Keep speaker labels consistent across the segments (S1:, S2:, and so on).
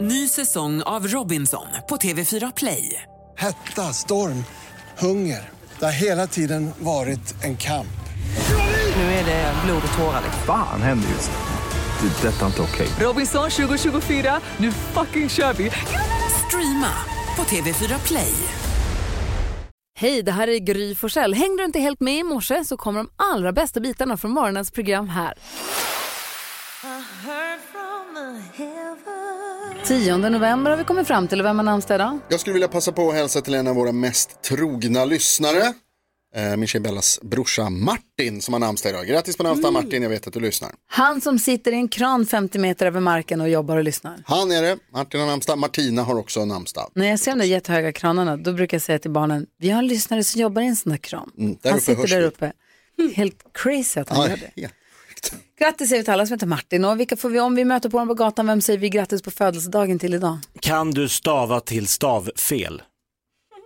S1: Ny säsong av Robinson på TV4 Play.
S2: Hetta, storm, hunger. Det har hela tiden varit en kamp.
S1: Nu är det blod och tårar. liksom.
S3: Fan händer just nu. Det. är Detta är inte okej.
S1: Robinson 2024, nu fucking kör vi! Streama på TV4 Play.
S4: Hej, det här är Gry Forssell. Hängde du inte helt med i morse så kommer de allra bästa bitarna från morgonens program här. 10 november har vi kommit fram till och vem har namnsdag idag?
S5: Jag skulle vilja passa på att hälsa till en av våra mest trogna lyssnare. Eh, Min tjej Bellas brorsa Martin som har namnsdag idag. Grattis på namnsdag Martin, jag vet att du lyssnar.
S4: Han som sitter i en kran 50 meter över marken och jobbar och lyssnar.
S5: Han är det, Martin har namnsdag, Martina har också namnsdag.
S4: När jag ser de där jättehöga kranarna då brukar jag säga till barnen, vi har en lyssnare som jobbar i en sån där kran.
S5: Mm, där
S4: han
S5: uppe
S4: sitter
S5: hörs
S4: där
S5: vi.
S4: uppe. Helt crazy att han gör det.
S5: Ja.
S4: Grattis säger vi till alla som heter Martin och vilka får vi, om vi möter på dem på gatan, vem säger vi grattis på födelsedagen till idag?
S6: Kan du stava till stavfel?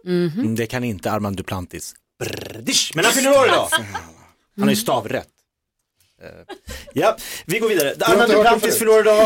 S6: Mm, Det kan inte Armand Duplantis. Brrdish. Men han fyller år idag. Han har ju stavrätt. Eh, Ja, vi går vidare. Armand
S5: inte hört det
S6: Duplantis fyller år idag.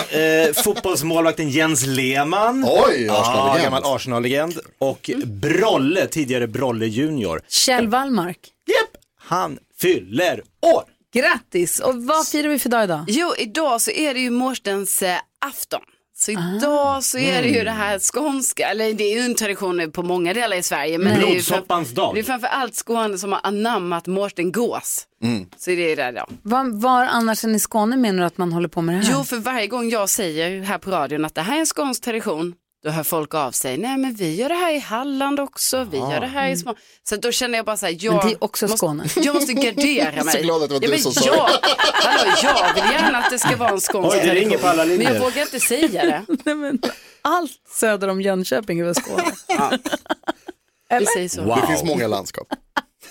S6: Eh, fotbollsmålvakten Jens Lehmann.
S5: Oj,
S6: Ja,
S5: Arsenal-legend.
S6: gammal Arsenal-legend. Och Brolle, tidigare Brolle Junior.
S4: Kjell Wallmark.
S6: Japp, han fyller år.
S4: Grattis! Och vad firar vi för dag idag?
S7: Jo, idag så är det ju morsdens eh, afton.
S4: Ah.
S7: Så idag så är det ju det
S4: Mm.
S7: här skånska, eller det är ju en tradition nu på många delar i Sverige. Men det är ju
S6: Blodsoppans dag.
S7: Det är framför allt Skåne som har anammat morsten gås.
S5: Mm.
S7: Så det är det då.
S4: Var, var annars än i Skåne menar du att man håller på med det här?
S7: Jo, för varje gång jag säger här på radion att det här är en skånsk tradition, då hör folk av sig. Nej, men vi gör det här i Halland också, vi gör det här i små... Så då känner jag bara så här, jag...
S4: Mm. Men det är också Skåne.
S7: Måste, jag måste gardera mig.
S5: är så glad att det var du
S7: men
S5: som sa
S7: jag,
S5: det.
S7: Hallå, jag vill gärna att det ska vara en skånsk
S6: Oj, det ringer på alla
S7: Men jag
S6: linjer.
S7: vågar inte säga det.
S4: Nej, men allt söder om Jönköping är väl Skåne?
S7: Vi säger så.
S5: Det finns många landskap.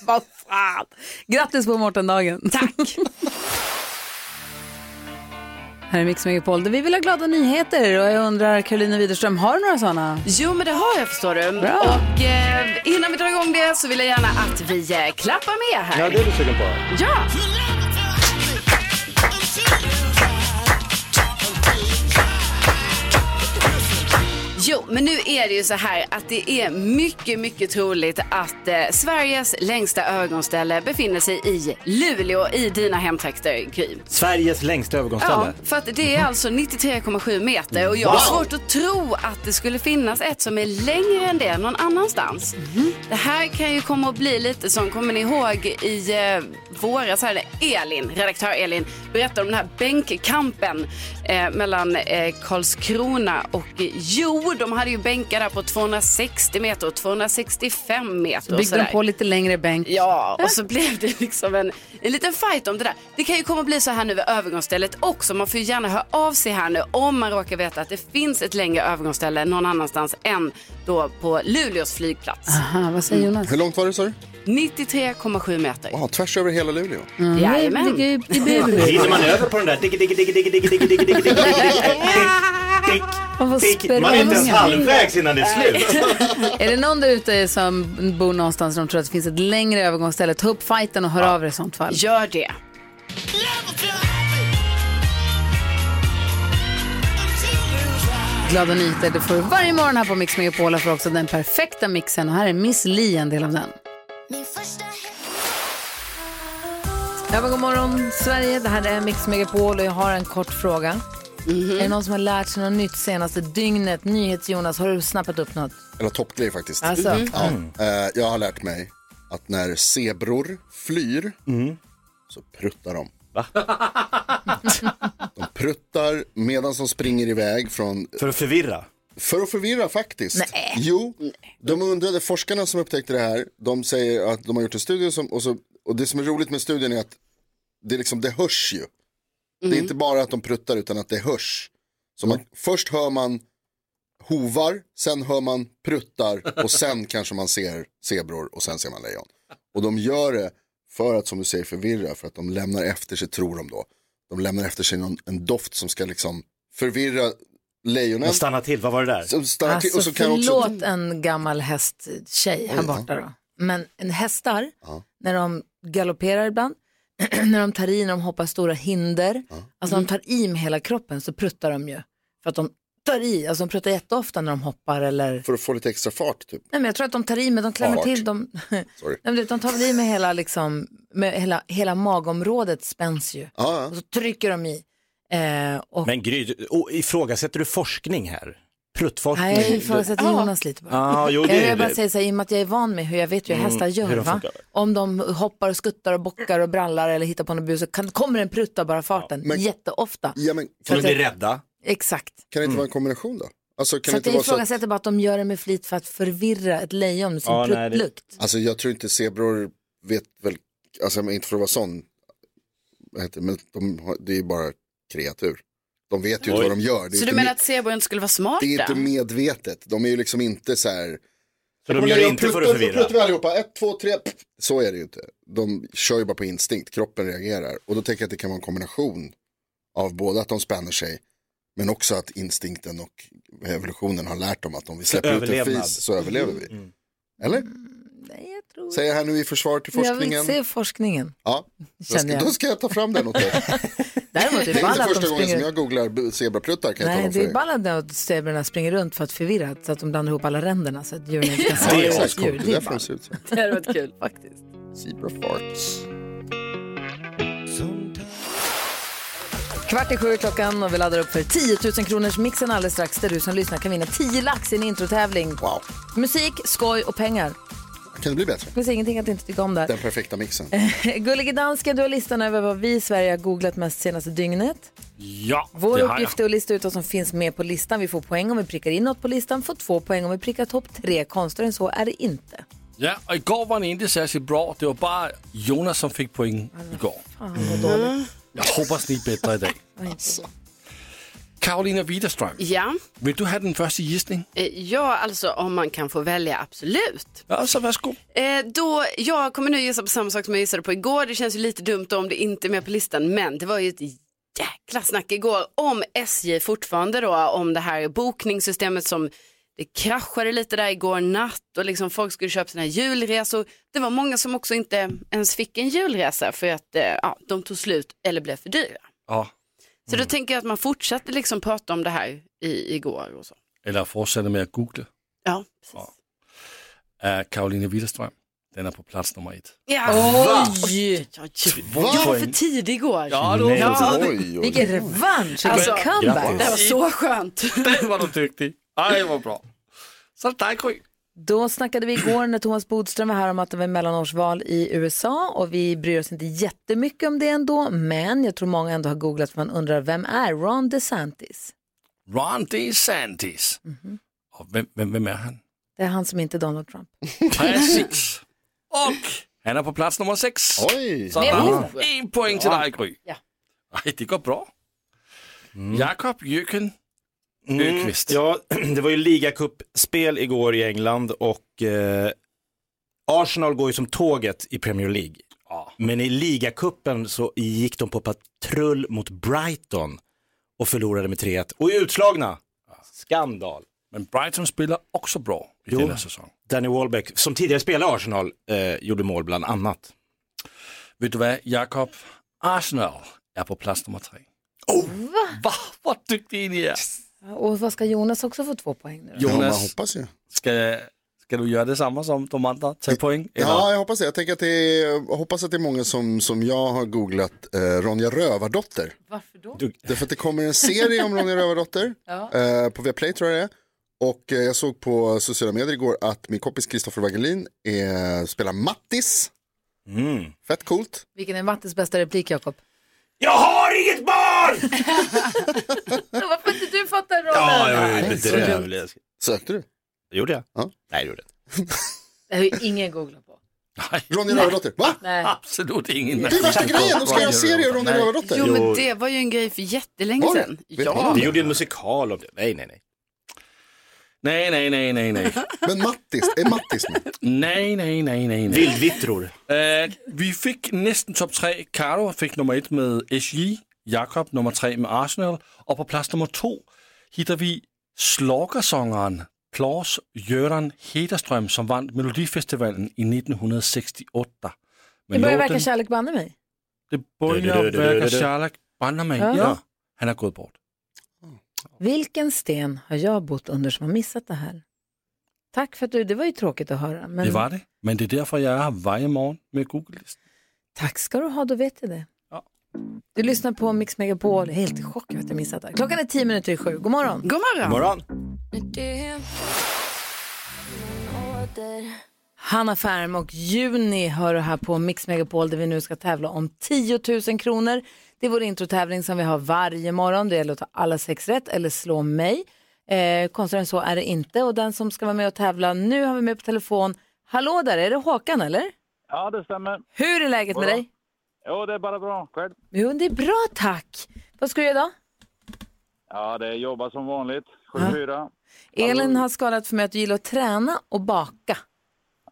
S4: vad fan! Grattis på Mårtendagen! Tack! här är Mix Megapol där vi vill ha glada nyheter och jag undrar Karolina Widerström, har du några sådana?
S7: Jo, men det har jag förstår du.
S4: Bra.
S7: Och eh, innan vi drar igång det så vill jag gärna att vi eh, klappar med här.
S6: Ja, det är du sugen på.
S7: Ja! Jo, men nu är det ju så här att det är mycket, mycket troligt att eh, Sveriges längsta ögonställe befinner sig i Luleå i dina hemtrakter, Gry.
S6: Sveriges längsta övergångsställe.
S7: Ja, för att det är alltså 93,7 meter och jag har svårt att tro att det skulle finnas ett som är längre än det någon annanstans.
S4: Mm.
S7: Det här kan ju komma att bli lite som, kommer ni ihåg i eh, våras, här, Elin, redaktör Elin, berättade om den här bänkkampen eh, mellan eh, Karlskrona och Jo. De hade ju bänkar där på 260 meter och 265 meter. och
S4: Byggde de
S7: sådär.
S4: på lite längre bänk?
S7: Ja, och så blev det liksom en, en liten fight om det där. Det kan ju komma att bli så här nu vid övergångsstället också. Man får ju gärna höra av sig här nu om man råkar veta att det finns ett längre övergångsställe någon annanstans än då på Luleås flygplats.
S4: Aha, vad säger Jonas?
S5: Hur långt var det sa du?
S7: 93,7 meter.
S5: Wow, tvärs över hela Luleå.
S4: Det ligger
S7: Jajamän.
S4: ju i Burby.
S6: Glider man över på den där, digg, digg, digg, digg, digg, digg, digg, digg, digg, digg, digg, digg, digg,
S4: Man får
S6: digg, digg. Man är inte ens
S4: springa.
S6: halvvägs innan det är slut.
S4: Är det någon där ute som bor någonstans som tror att det finns ett längre övergångsställe, ta upp fighten och hör av er i sånt fall.
S7: Gör det.
S4: Glada nyheter, det får du varje morgon här på Mix Megapol och får också den perfekta mixen och här är Miss Li en del av den.
S8: Ja, men god morgon, Sverige. Det här är Mix Megapol och jag har en kort fråga.
S7: Mhm.
S8: Är det någon som har lärt sig något nytt senaste dygnet? NyhetsJonas, har du snappat upp något?
S5: Eller toppgrej faktiskt.
S8: Alltså,
S5: Ja, eh, jag har lärt mig att när zebror flyr
S6: Mm.
S5: så pruttar de. de pruttar medan de springer iväg från
S6: För att förvirra.
S5: För att förvirra faktiskt. Jo, de undrade, forskarna som upptäckte det här, de säger att de har gjort en studie som, och, så, och det som är roligt med studien är att det, är liksom, det hörs ju. Det är inte bara att de pruttar utan att det hörs. Så man,
S6: Mm.
S5: först hör man hovar, sen hör man pruttar och sen kanske man ser zebror och sen ser man lejon. Och de gör det för att som du säger förvirra, för att de lämnar efter sig, tror de då, de lämnar efter sig någon, en doft som ska liksom förvirra lejonen.
S6: Och stanna till, vad var det där?
S5: Som stannar till
S8: alltså
S5: och så kan jag
S8: förlåt
S5: också...
S8: en gammal hästtjej här
S5: Oj, ja.
S8: borta då. Men en hästar, när de galopperar ibland, när de tar i, när de hoppar stora hinder, alltså när de tar i med hela kroppen så pruttar de ju. För att de
S4: pruttar i, alltså de pruttar jätteofta när de hoppar eller?
S5: För att få lite extra fart typ.
S4: Nej men jag tror att de tar i men de klämmer
S5: Fart.
S4: till, de, Nej, men du vet, de tar i med hela, liksom, med hela, hela magområdet spänns ju.
S5: Ja,
S4: Och så trycker de i. Eh, och
S6: Men Gry, du- oh, ifrågasätter du forskning här? Pruttforskning?
S4: Nej, jag ifrågasätter Jonas lite bara.
S6: Ja, jo, det
S4: jag
S6: är
S4: vill bara
S6: det.
S4: säga så här, i och med att jag är van med hur jag vet hur
S6: Mm,
S4: hästar gör,
S6: hur de
S4: va?
S6: funkar.
S4: om de hoppar och skuttar och bockar och brallar eller hittar på något bus så kan, kommer en prutta bara farten,
S5: men-
S4: jätteofta.
S5: ja men
S6: Så de
S5: kan,
S6: blir rädda? Mm.
S4: Exakt.
S5: kan det inte vara en kombination då? Alltså kan
S4: Så
S5: det
S4: att
S5: inte
S4: jag
S5: vara så att,
S4: ifrågasätter bara att de gör det med flit för att förvirra ett lejon med sin
S6: Ja, nej, det-
S4: pruttlukt.
S5: alltså jag tror inte zebror vet väl, alltså men inte för att vara sån, vad heter det, men de, har- det är ju bara kreatur. De vet ju inte
S6: Oj.
S5: vad de gör. Det är,
S7: Så
S5: inte,
S7: du
S5: me-
S7: menar att zebror inte skulle vara smarta?
S5: det är inte medvetet. De är ju liksom inte så här,
S6: Så de gör det inte för att förvirra?
S5: Pruttar vi allihopa, ett, två, tre. pff. Så är det ju inte. De kör ju bara på instinkt, kroppen reagerar. Och då tänker jag att det kan vara en kombination av både att de spänner sig, men också att instinkten och evolutionen har lärt dem att om vi släpper ut en
S6: Överlevnad.
S5: fis så överlever vi. Eller?
S4: Mm, Nej, jag tror
S5: Säger jag här nu i försvar till
S4: Jag vill
S5: forskningen.
S4: se forskningen.
S5: Ja, då
S4: Känner
S5: ska,
S4: jag.
S5: då ska jag ta fram den åt dig.
S4: Däremot är
S5: Det
S4: det
S5: är
S4: ball
S5: inte
S4: att de
S5: första gången som
S4: springer
S5: jag googlar b- zebrapruttar kan jag
S4: Nej,
S5: tala
S4: det
S5: om
S4: är
S5: för dig.
S4: ball att zebrorna springer runt för att förvirra så att de blandar ihop alla ränderna så att djuren inte kan se
S5: Ja,
S6: Det är
S5: exakt.
S4: ett djur.
S5: Det
S4: Det
S5: är
S4: är
S5: därför de
S4: ball.
S5: ser ut så.
S7: Det hade varit kul faktiskt.
S5: Zebra farts.
S4: Kvart i sju är klockan och vi laddar upp för 10 000 kronors mixen alldeles strax där du som lyssnar kan vinna 10 lax i en introtävling.
S5: Wow,
S4: Musik, skoj och pengar.
S5: kan det bli bättre?
S4: Det finns ingenting att inte tycka om där.
S5: Den perfekta mixen.
S4: Gullige dansken, du har listan över vad vi i Sverige har googlat mest senaste dygnet.
S6: Ja,
S4: Vår
S6: det har
S4: uppgift är att lista ut vad som finns med på listan. Vi får poäng om vi prickar in något på listan, får två poäng om vi prickar topp tre. Konstigare än så är det inte.
S9: Ja, och igår var den inte särskilt bra. Det var bara Jonas som fick poäng igår.
S4: Fan vad dåligt.
S9: Jag hoppas ni är bättre idag. Karolina Widerström,
S7: Ja.
S9: vill du ha den första gissningen?
S7: Eh, Ja, alltså om man kan få välja, absolut.
S9: Ja, så varsågod.
S7: Eh, då, jag kommer nu gissa på samma sak som jag gissade på igår. Det känns ju lite dumt om det inte är med på listan, men det var ju ett jäkla snack igår om SJ fortfarande då, om det här bokningssystemet som det kraschade lite där igår natt och liksom folk skulle köpa sina julresor. Det var många som också inte ens fick en julresa för att eh, ja, de tog slut eller blev för dyra.
S9: Ja,
S7: Så
S9: Mm.
S7: då tänker jag att man fortsatte liksom prata om det här i, igår och så.
S9: eller fortsätta med att googla.
S7: Ja, precis.
S9: Äh, Karolina Widerström, den är på plats nummer ett.
S7: Ja.
S4: Oj!
S7: Ja, Jag var för tidig igår.
S9: Ja, då.
S7: Ja, det,
S5: Oj, oj.
S4: Vilken revansch, vilken
S7: Alltså,
S4: comeback.
S9: grattis.
S7: det här var så skönt.
S9: Den var du duktig. Aj, vad bra. Så det är Gry.
S4: Då snackade vi igår när Thomas Bodström var här om att det var mellanårsval i USA och vi bryr oss inte jättemycket om det ändå, men jag tror många ändå har googlat för man undrar vem är Ron DeSantis?
S9: Ron DeSantis. Och vem, vem, vem är han?
S4: Det är han som inte är Donald Trump.
S9: Precis. Och han är på plats nummer sex.
S5: Oj.
S9: Så
S4: Ja.
S9: ja. en poäng till dig Gry.
S7: Ja.
S9: Nej, det går bra. Jakob Jöken Öqvist.
S6: Mm. Ja, det var ju ligacupspel igår i England och eh, Arsenal går ju som tåget i Premier League.
S9: Ja.
S6: Men i ligacupen så gick de på patrull mot Brighton och förlorade med 3-1 och är utslagna. Skandal.
S9: Men Brighton spelar också bra i
S6: Jo.
S9: denna säsong.
S6: Danny Welbeck, som tidigare spelade i Arsenal, eh, gjorde mål bland annat.
S9: Vet du vad Jakob? Arsenal är på plats nummer tre. Oh, va? Vad duktig ni är.
S4: Och vad ska Jonas också få två poäng nu då?
S5: Ja, man
S9: Jonas,
S5: hoppas ju.
S9: ska, ska du göra detsamma som de andra? Ta poäng?
S5: Ja, jag hoppas det. Jag, tänker att det är, jag hoppas att det är många som, som jag har googlat eh, Ronja Rövardotter.
S4: Varför då?
S5: Därför att det kommer en serie om Ronja Rövardotter eh, på Viaplay tror jag det är. Och eh, jag såg på sociala medier igår att min kompis Kristoffer Wagelin är, spelar Mattis.
S6: Mm.
S5: Fett coolt.
S4: Vilken är Mattis bästa replik, Jakob?
S6: Jag har inget barn!
S4: Varför inte du fattar rollen?
S6: ja, jag är
S5: Nej, så
S6: bedrövlig.
S5: Sökte du?
S6: Gjorde jag?
S5: Ja.
S6: Nej, det gjorde jag inte.
S4: Det har ju ingen googlat på.
S5: Ronja Rövardotter. Va?
S4: Nej.
S9: Absolut ingen.
S5: Det är värsta grejen. De ska göra en serie om Ronja Rövardotter.
S7: Jo, men
S6: Jo.
S7: det var ju en grej för jättelänge
S5: Var det?
S7: sedan.
S5: Vet man om det?
S6: Vi
S7: Ja,
S6: gjorde ju en musikal om det. Nej, nej, nej.
S9: Nej, nej, nej, nej, nej.
S5: Men Mattis, är Mattis med?
S9: nej, nej, nej, nej, nej.
S6: Vildvittror.
S9: Eh, vi fick nästan topp tre. Karo fick nummer ett med SJ, Jakob nummer tre med Arsenal och på plats nummer två hittar vi slagersångaren Claes Göran Hederström som vann Melodifestivalen i 1968.
S4: Det
S9: Men
S4: börjar verka kärlek banne mig.
S9: det
S6: Du,
S9: börjar
S6: du, du, du, du,
S9: verka
S6: du.
S9: kärlek, banne mig.
S4: Ja.
S9: Ja. Han har gått bort.
S4: Vilken sten har jag bott under som har missat det här? Tack för att du, det var ju tråkigt att höra. Men
S9: Det var det. Men det är därför jag är här varje morgon med Google-listan.
S4: Tack ska du ha, då vet jag det. Du lyssnar på Mix Megapol, jag är helt i chock över att jag missat det här. Klockan är tio minuter i sju, god morgon.
S7: God morgon.
S6: Morgon.
S4: Hanna Färm och Juni hör du här på Mix Megapol där vi nu ska tävla om 10 000 kronor. Det är vår introtävling som vi har varje morgon. Det gäller att ta alla sex rätt eller slå mig. Eh, konstigare än så är det inte. Och den som ska vara med och tävla nu har vi med på telefon. Hallå där, är det Håkan eller?
S10: Ja, det stämmer.
S4: Hur är läget med dig?
S10: Jo, det är bara bra. Själv?
S4: Jo, det är bra tack. Vad ska du göra idag?
S10: Ja, det är jobba som vanligt. 7-4.
S4: Elin har skadat för mig att du gillar att träna och baka.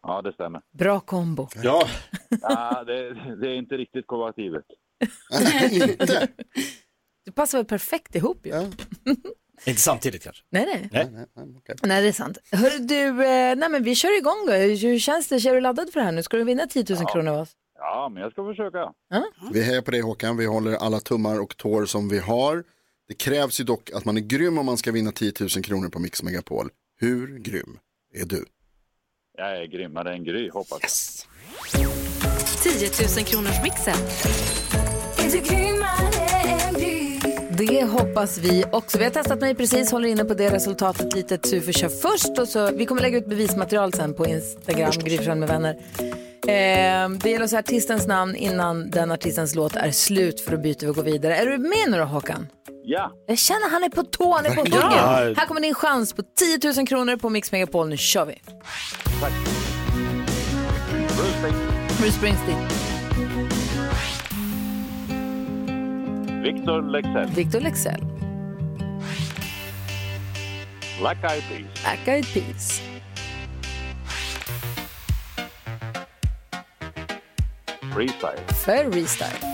S10: Ja, det stämmer.
S4: Bra kombo.
S6: Ja.
S10: Ja, det, det är inte riktigt kompatibelt.
S5: Inte?
S4: Du passar väl perfekt ihop ju.
S6: Inte samtidigt kanske.
S4: Nej, nej.
S6: Nej.
S5: Nej, nej, okej.
S4: Nej, det är sant. Hör du, eh, nej men vi kör igång då. Hur känns det? Är du laddad för det här nu? Ska du vinna 10 000 kronor av oss?
S10: Ja, men jag ska försöka.
S5: Vi hejar på dig Håkan, vi håller alla tummar och tår som vi har. Det krävs ju dock att man är grym om man ska vinna 10 000 kronor på Mix Megapol. Hur grym är du?
S10: Jag är grymmare än Gry, hoppas jag.
S11: 10 000 kronors mixen.
S4: Det hoppas vi också. Vi har testat mig precis, håller inne på det resultatet lite. Tu får köra först. Och så, vi kommer lägga ut bevismaterial sen på Instagram, Gry Forssell med vänner. Eh, det gäller att säga artistens namn innan den artistens låt är slut för att byta och gå vidare. Är du med nu då Håkan?
S10: Ja,
S4: Jag känner han är på tå, han är på hugget.
S6: Ja.
S4: Här kommer din chans på 10 000 kronor på Mix Megapol. Nu kör vi. Bruce Springsteen,
S10: Victor Lexell.
S4: Victor Lexell,
S10: Black Eyed Peas.
S4: Black Eyed Peas,
S10: Freestyle.
S4: Ferry Style,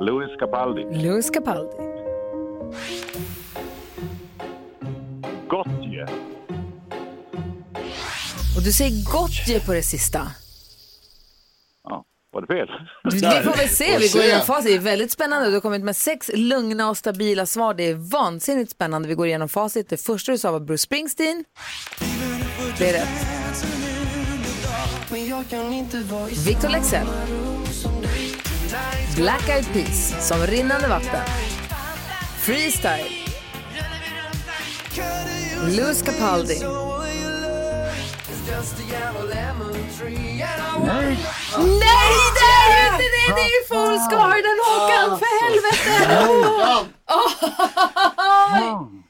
S10: Louis Capaldi.
S4: Louis Capaldi,
S10: Gottje.
S4: Och du säger Gotye på det sista.
S10: Ja, var det fel?
S4: Vi får väl se, vi
S5: Får
S4: går
S5: se.
S4: igenom facit. Det är väldigt spännande. Du har kommit med sex lugna och stabila svar. Det är vansinnigt spännande. Vi går igenom facit. Det första du sa var Bruce Springsteen. Det är rätt. Victor Lexell. Black Eyed Peas, som rinnande vatten. Freestyle. Louis Capaldi. Nej, det är inte det! Det är ju Fools Garden, Håkan! För helvete!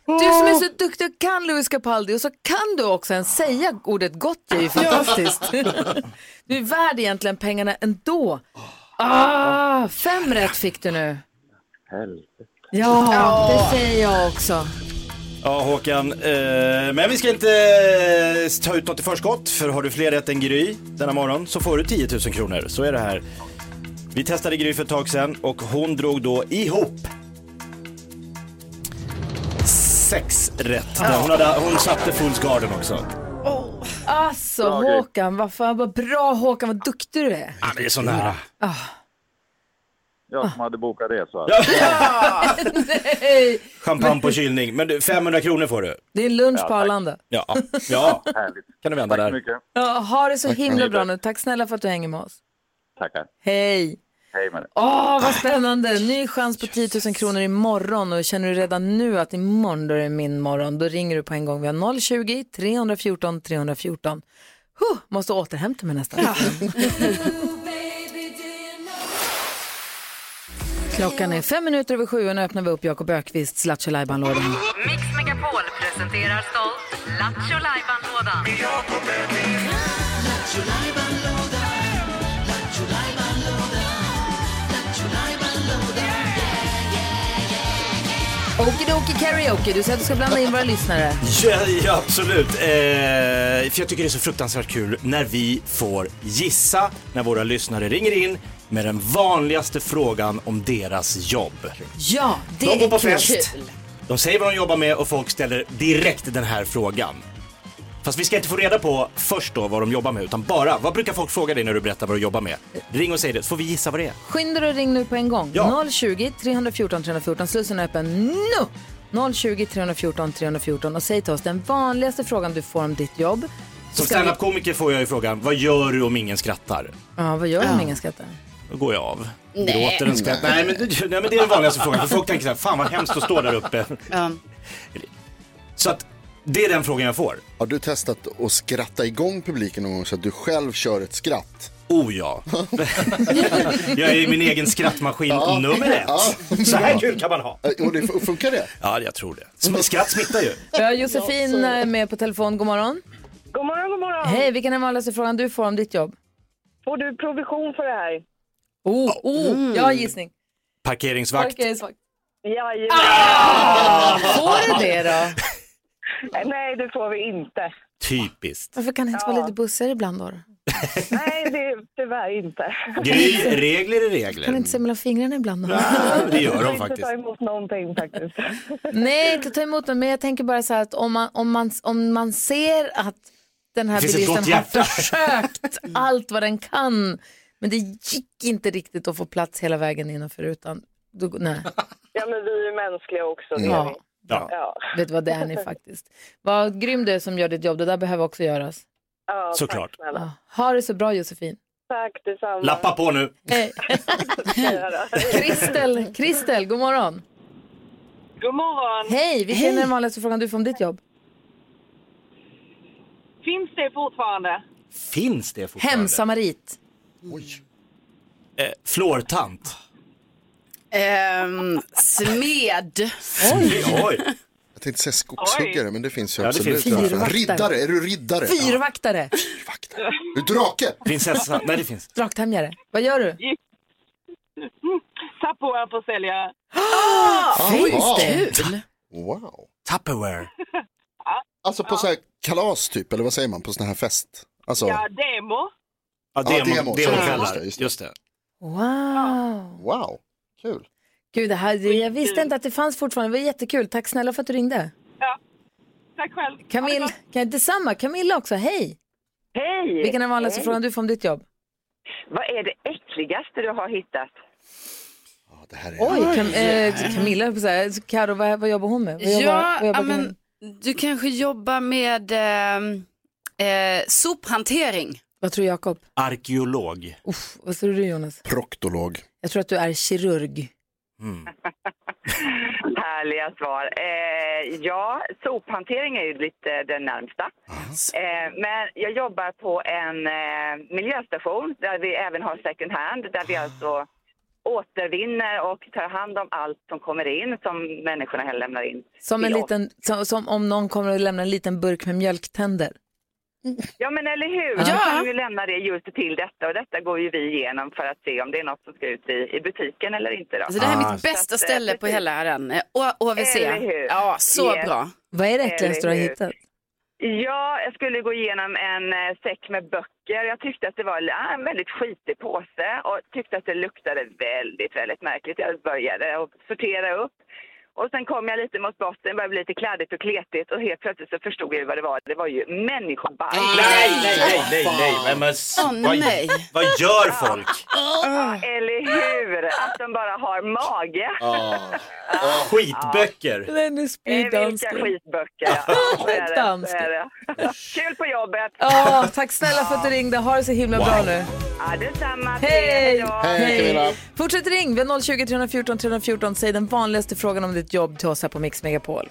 S4: Du som är så duktig och kan Louis Capaldi och så kan du också ens säga ordet gott, det är ju fantastiskt. Du är värd egentligen pengarna ändå. Ah, fem rätt fick du nu. Ja, det säger jag också.
S6: Ja Håkan, eh, men vi ska inte eh, ta ut något i förskott för har du fler rätt än Gry denna morgon så får du 10 000 kronor. Så är det här. Vi testade Gry för ett tag sedan och hon drog då ihop sex rätt. Hon, hade, hon satte Fools Garden också.
S4: Alltså Håkan, vad fan, vad bra Håkan, vad duktig du är.
S6: Ah, det är så nära.
S10: Jag som hade bokat resa.
S4: Hej!
S6: Champagne på kylning. Men du, 500 kronor får du.
S4: Det är en lunch på Arlanda.
S6: Ja, ja.
S10: Härligt.
S6: kan du vända
S10: Tack så
S6: där.
S10: mycket.
S4: Ja, ha det så himla bra nu. Tack snälla för att du hänger med oss.
S10: Tackar.
S4: Hej!
S10: Hej med dig.
S4: Åh, vad spännande! Ny chans på 10 000 kronor imorgon och känner du redan nu att imorgon då är det min morgon, då ringer du på en gång. Vi har 020-314 314. Huh, måste återhämta mig nästan. Klockan är fem minuter över sju och nu öppnar vi upp Jakob Ökvists Lattjo Lajban-lådan.
S8: Mix Megapol presenterar stolt Lattjo Lajban-lådan.
S4: Okidoki karaoke, du säger att du ska blanda in våra lyssnare.
S6: Ja, ja absolut. Eh, för jag tycker det är så fruktansvärt kul när vi får gissa när våra lyssnare ringer in med den vanligaste frågan om deras jobb.
S4: Ja, det
S6: De går på
S4: är kul.
S6: fest. De säger vad de jobbar med och folk ställer direkt den här frågan. Fast vi ska inte få reda på först då vad de jobbar med, utan bara vad brukar folk fråga dig när du berättar vad du jobbar med? Ring och säg det, så får vi gissa vad det är.
S4: Skynda dig och ring nu på en gång.
S6: Ja.
S4: 020 314 314. Slussen är öppen nu! 020 314 314 och säg till oss den vanligaste frågan du får om ditt jobb.
S6: Som
S4: Ska vi-
S6: standup-komiker får jag ju frågan, vad gör du om ingen skrattar?
S4: Ja, vad gör du om ingen skrattar?
S6: Då går jag av.
S4: Nej.
S6: Gråter en skratt. Nej, men, det- nej men det är den vanligaste frågan. För folk tänker så här, fan vad hemskt att stå där uppe. Så att det är den frågan jag får.
S5: Har du testat att skratta igång publiken någon gång så att du själv kör ett skratt?
S6: Oh ja. Jag är min egen skrattmaskin
S5: Ja.
S6: nummer ett.
S5: Ja.
S6: Så här kul kan man ha.
S5: Och det fun- funkar det?
S6: Ja, jag tror det. Sm- Skratt smittar ju.
S4: Vi har Josefin eh, med på telefon. God morgon.
S12: God morgon, god morgon.
S4: Hej, vilken är den vanligaste frågan du får om ditt jobb?
S12: Får du provision för det här?
S4: Oh, oh,
S12: Mm.
S4: jag har en gissning.
S6: Parkeringsvakt.
S12: Jajamän.
S4: Ah, Får du det då?
S12: Nej, det får vi inte.
S6: Typiskt.
S4: Varför kan det inte vara lite bussar ibland då?
S12: Nej, det är tyvärr inte.
S6: Gry, regler är
S4: Kan du
S6: regler.
S4: inte se mellan fingrarna ibland då?
S6: Det
S12: Jag
S6: gör de
S12: vill inte
S6: faktiskt.
S12: ta emot någonting faktiskt.
S4: Nej, inte ta emot den, men jag tänker bara så här att om man, om man, om man ser att den här
S6: Det finns ett
S4: bilisten
S6: gott
S4: har
S6: hjärta.
S4: försökt allt vad den kan, men det gick inte riktigt att få plats hela vägen innanför rutan. Då, nej.
S12: Ja, men vi är ju mänskliga också. det är
S4: Ja.
S12: vi.
S6: Ja.
S12: Ja.
S4: Vet du vad det är ni faktiskt. Vad grym du är som gör ditt jobb, det där behöver också göras.
S12: Ja,
S6: Såklart.
S12: Tack, snälla.
S4: Ha det så bra Josefin.
S12: tack detsamma.
S6: Lappa på nu.
S4: Hej. Kristel, Kristel, god morgon.
S12: God morgon.
S4: Hej, vilken är den vanligaste frågan du får om ditt jobb?
S12: Finns det fortfarande?
S6: Finns det fortfarande?
S4: Hemsamarit.
S6: Eh, Flårtant.
S7: Ehm, smed.
S6: Oj.
S5: Jag tänkte säga skogshuggare, men det finns ju
S6: Ja, det
S5: absolut.
S6: finns.
S5: Varför? Riddare, är du riddare? Ja.
S4: Fyrvaktare,
S5: Är du drake?
S6: Prinsessa. Nej, det finns.
S4: draktämjare. Vad gör du?
S12: Tupperware-försäljare.
S5: Ah, Wow.
S7: Kul.
S5: Wow.
S6: Tupperware.
S5: Alltså på så här kalas typ, eller vad säger man? På sån här fest? Alltså,
S12: demo.
S5: Ja,
S6: Ja, demo,
S5: demo. Just
S6: demokvällar.
S5: det,
S6: Just,
S5: just
S6: det.
S4: Wow.
S5: wow, kul.
S4: Gud, det här, jag visste inte att det fanns fortfarande. Det var jättekul. Tack snälla för att du ringde.
S12: Tack själv.
S4: Camilla, kan, detsamma. Camilla också, hej.
S12: Hej!
S4: Vilken är den vanligaste
S12: Hej.
S4: frågan du får om ditt jobb?
S12: Vad är det äckligaste du har hittat?
S5: Ja, det här är...
S4: Oj, Cam, eh, Camilla, höll på att säga. Karo, vad, vad jobbar hon med? Vad jobbar,
S7: Ja,
S4: vad jobbar
S7: ja,
S4: du med?
S7: men du kanske jobbar med ehm, eh, sophantering.
S4: Vad tror Jakob?
S6: Arkeolog.
S4: Uff, vad tror du Jonas?
S5: Proktolog.
S4: Jag tror att du är kirurg.
S12: Härliga svar. Eh, ja, sophantering är ju lite den närmsta. Eh, men jag jobbar på en eh, miljöstation där vi även har second hand, där vi alltså återvinner och tar hand om allt som kommer in som människorna här lämnar in.
S4: Som, en
S12: till oss.
S4: liten, som, som om någon kommer och lämnar en liten burk med mjölktänder.
S12: Ja, men eller hur?
S4: Ja.
S12: Då kan vi ju lämna det just till detta och detta går ju vi igenom för att se om det är något som ska ut i, i butiken eller inte. Då.
S7: Alltså, det här är
S6: Ah.
S7: mitt bästa
S12: Så att, eh,
S7: ställe på
S12: precis.
S7: hela den. eh, Å- OVC.
S12: Eller hur?
S7: Ja, så
S12: Yes.
S7: bra.
S4: Vad är det äckligaste du har
S12: Eller hur?
S4: hittat?
S12: Ja, jag skulle gå igenom en eh, säck med böcker. Jag tyckte att det var ah, en väldigt skitig påse och tyckte att det luktade väldigt, väldigt märkligt. Jag började att sortera upp. Och sen kom jag lite mot botten, började bli lite kladdigt och kletigt och helt plötsligt så förstod jag ju vad det var. Det var ju människobajs.
S6: Nej, nej, nej, nej, nej. Men, men, s-
S7: Åh,
S6: vad,
S7: nej.
S6: vad gör folk?
S12: Ah, Eller hur? Att de bara har mage.
S5: Ah.
S6: Skitböcker.
S4: Nej, nu
S12: Eh,
S4: spyr
S12: Vilka
S4: dansken.
S12: skitböcker, ja. Så är det, så
S4: Dansken.
S12: är det. Kul på jobbet!
S4: Åh, tack snälla för att du ringde. Ha det så himla bra nu.
S12: Ja, detsamma!
S4: Hej!
S12: då.
S5: Hej Camilla.
S4: Fortsätt ring. Vi har 020 314 314. Säg den vanligaste frågan om ditt jobb till oss här på Mix Megapol.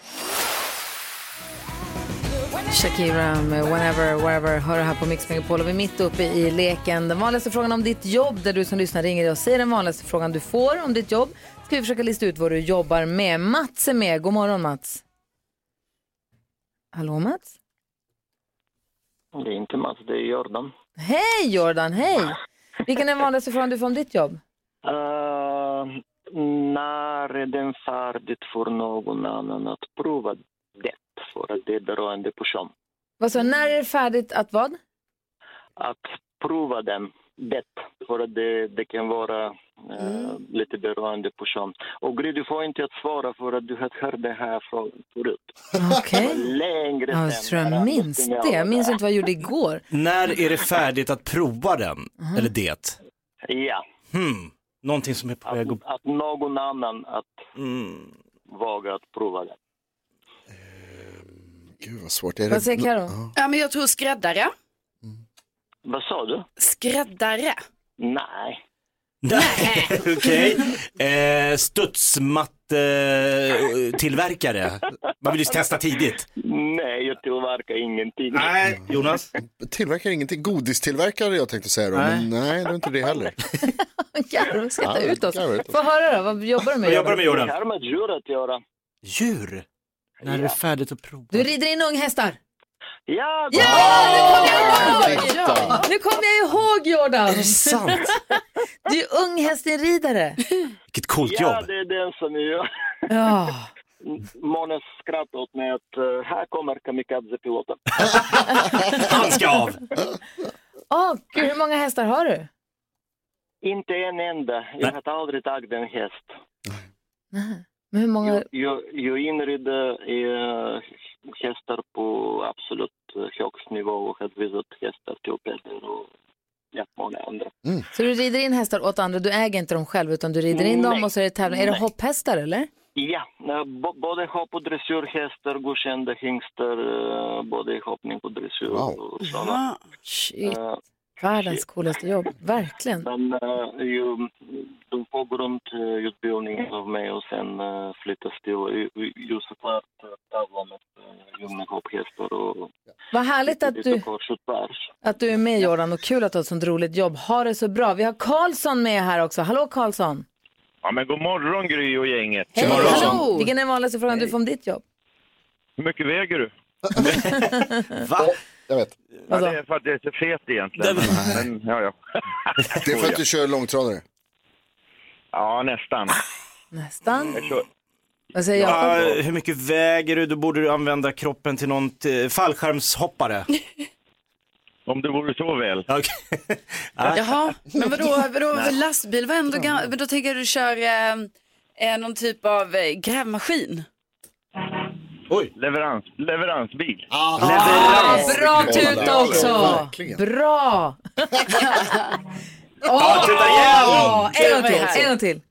S4: Shakira med Whenever, Wherever hör du här på Mix Megapol och vi är mitt uppe i leken. Den vanligaste frågan om ditt jobb där du som lyssnar ringer och säger den vanligaste frågan du får om ditt jobb. Ska vi försöka lista ut vad du jobbar med. Mats är med. God morgon Mats. Hallå Mats?
S13: Det är inte Mats, alltså det är Jordan.
S4: Hej Jordan, hej! Vilken är den vanligaste frågan du får om ditt jobb?
S13: Eh, när är den färdigt för någon annan att prova det? För att det är beroende på kön.
S4: Vad sa du? när är det färdigt att vad?
S13: Att prova den. det, för att det, det kan vara eh,
S4: Mm.
S13: lite beroende på kön. Och Gry, du får inte att svara för att du har hört den här frågan förut.
S4: Okej.
S13: Längre
S4: Ja, jag tror jag minns det. Jag minns inte vad jag gjorde igår.
S6: När är det färdigt att prova den?
S4: Mhm.
S6: Eller det?
S13: Ja,
S6: Hmm. Någonting som är på väg att...
S13: att någon annan att
S6: Mm.
S13: våga att prova det.
S5: Gud vad svårt. Är
S13: Vad säger Karo?
S5: Ja.
S7: Ja, men jag tror skräddare.
S13: Vad sa du?
S7: Skräddare.
S13: Nej.
S6: Okej. Eh, Studsmatte-tillverkare. Man vill ju testa tidigt.
S13: Nej, jag tillverkar ingenting.
S6: Nej, Jonas?
S5: Tillverkar ingenting. Godistillverkare jag tänkte säga då. Men nej, det är inte det heller.
S4: Jävlar, skratta
S5: Ja,
S4: ut oss.
S5: jag vet.
S4: Få höra då, vad jobbar du med?
S13: Jag har med djur att göra.
S6: Djur? När är det färdigt att prova?
S4: Du rider in unghästar.
S13: Ja,
S4: ja nu kom jag ihåg! Ja, nu kom jag ihåg Jordan. Är det
S6: sant?
S4: Du är unghästenridare.
S6: Vilket coolt
S13: Ja,
S6: jobb.
S13: det är den som jag...
S4: Ja.
S13: Månes skrattade åt mig att eh, här kommer kamikazepiloten.
S6: Han ska av!
S4: Åh, gud, hur många hästar har du?
S13: Inte en enda. Jag har aldrig tagit en häst.
S4: Men hur många?
S13: Jag, jag inredde eh, hästar på absolut eh, högst nivå och har visat hästar till Peter och ja, många andra.
S4: Så du rider in hästar åt andra, du äger inte dem själv utan du rider in dem
S13: Nej.
S4: och så är det tävling. Är det
S13: Nej.
S4: hopphästar eller?
S13: Ja, eh, bo- både hopp och dressyrhästar, godkända hingstar, eh, både i hoppning och dressyr och sådana.
S4: Shit.
S13: Eh,
S4: Världens coolaste jobb, verkligen.
S13: Men eh, ju, de får grundutbildningen av mig och sen eh, flyttas till, ju- ju såklart, eh, tavlan med eh, gymnakopphästar och
S4: Vad härligt att
S13: lite
S4: du,
S13: kors och tvärs.
S4: att du är med Jordan och kul att du har ett sånt roligt jobb. Ha det så bra. Vi har Karlsson med här också. Hallå Karlsson.
S14: Ja, men god morgon Gry och gänget.
S4: Hej, hallå. Vilken är den vanligaste frågan du får om ditt jobb?
S14: Hur mycket väger du?
S6: Va?
S5: Jag vet.
S14: Ja,
S4: Alltså.
S14: det är för att jag är så fet egentligen. Men, men, ja, ja.
S5: Det är för att du kör långtradare.
S14: ja, nästan.
S4: Nästan.
S14: Jag kör...
S4: Vad säger Jakob?
S6: Ja, hur mycket väger du? Då borde du använda kroppen till någon t- fallskärmshoppare.
S14: Om det vore så väl.
S7: Jaha, men vadå, vadå
S14: Nej.
S7: lastbil var ändå
S12: Mm.
S7: gam- men då tänker jag du kör eh, eh, någon typ av eh, grävmaskin.
S14: Oj. Leverans, leveransbil.
S6: Leverans.
S4: Bra tuta också! Bra! Ja,
S6: tuta igen!
S4: En gång till, en gång till.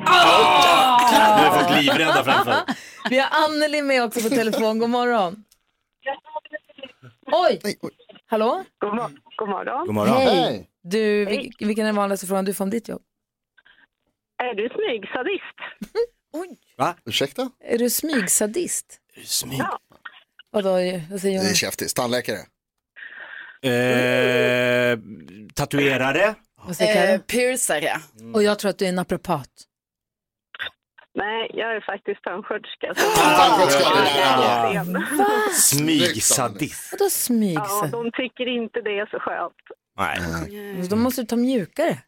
S6: Nu är folk livrädda framför.
S4: Vi har Anneli med också på telefon. God morgon. Oj! Hallå?
S15: God, mor- god morgon.
S6: God morgon.
S4: Hej!
S6: Hej.
S4: Du, vil- vilken är den vanligaste frågan du får om ditt jobb?
S15: Är du smygsadist?
S6: Va?
S5: Ursäkta?
S4: Är du smygsadist?
S6: Smyg?
S4: Vadå, vad säger
S5: Det är
S4: jag?
S5: käftigt. Tandläkare.
S6: Eh, tatuerare?
S4: Vad säger Karo?
S7: piercare.
S6: Mm.
S4: Och jag tror att du är naprapat.
S15: Nej, jag är faktiskt tandsköterska.
S6: Ah!
S15: Va?
S6: Smygsadist.
S4: Vadå smygsadist?
S15: Ja, de tycker inte det är så skönt.
S6: Nej.
S4: Då måste du ta mjukare.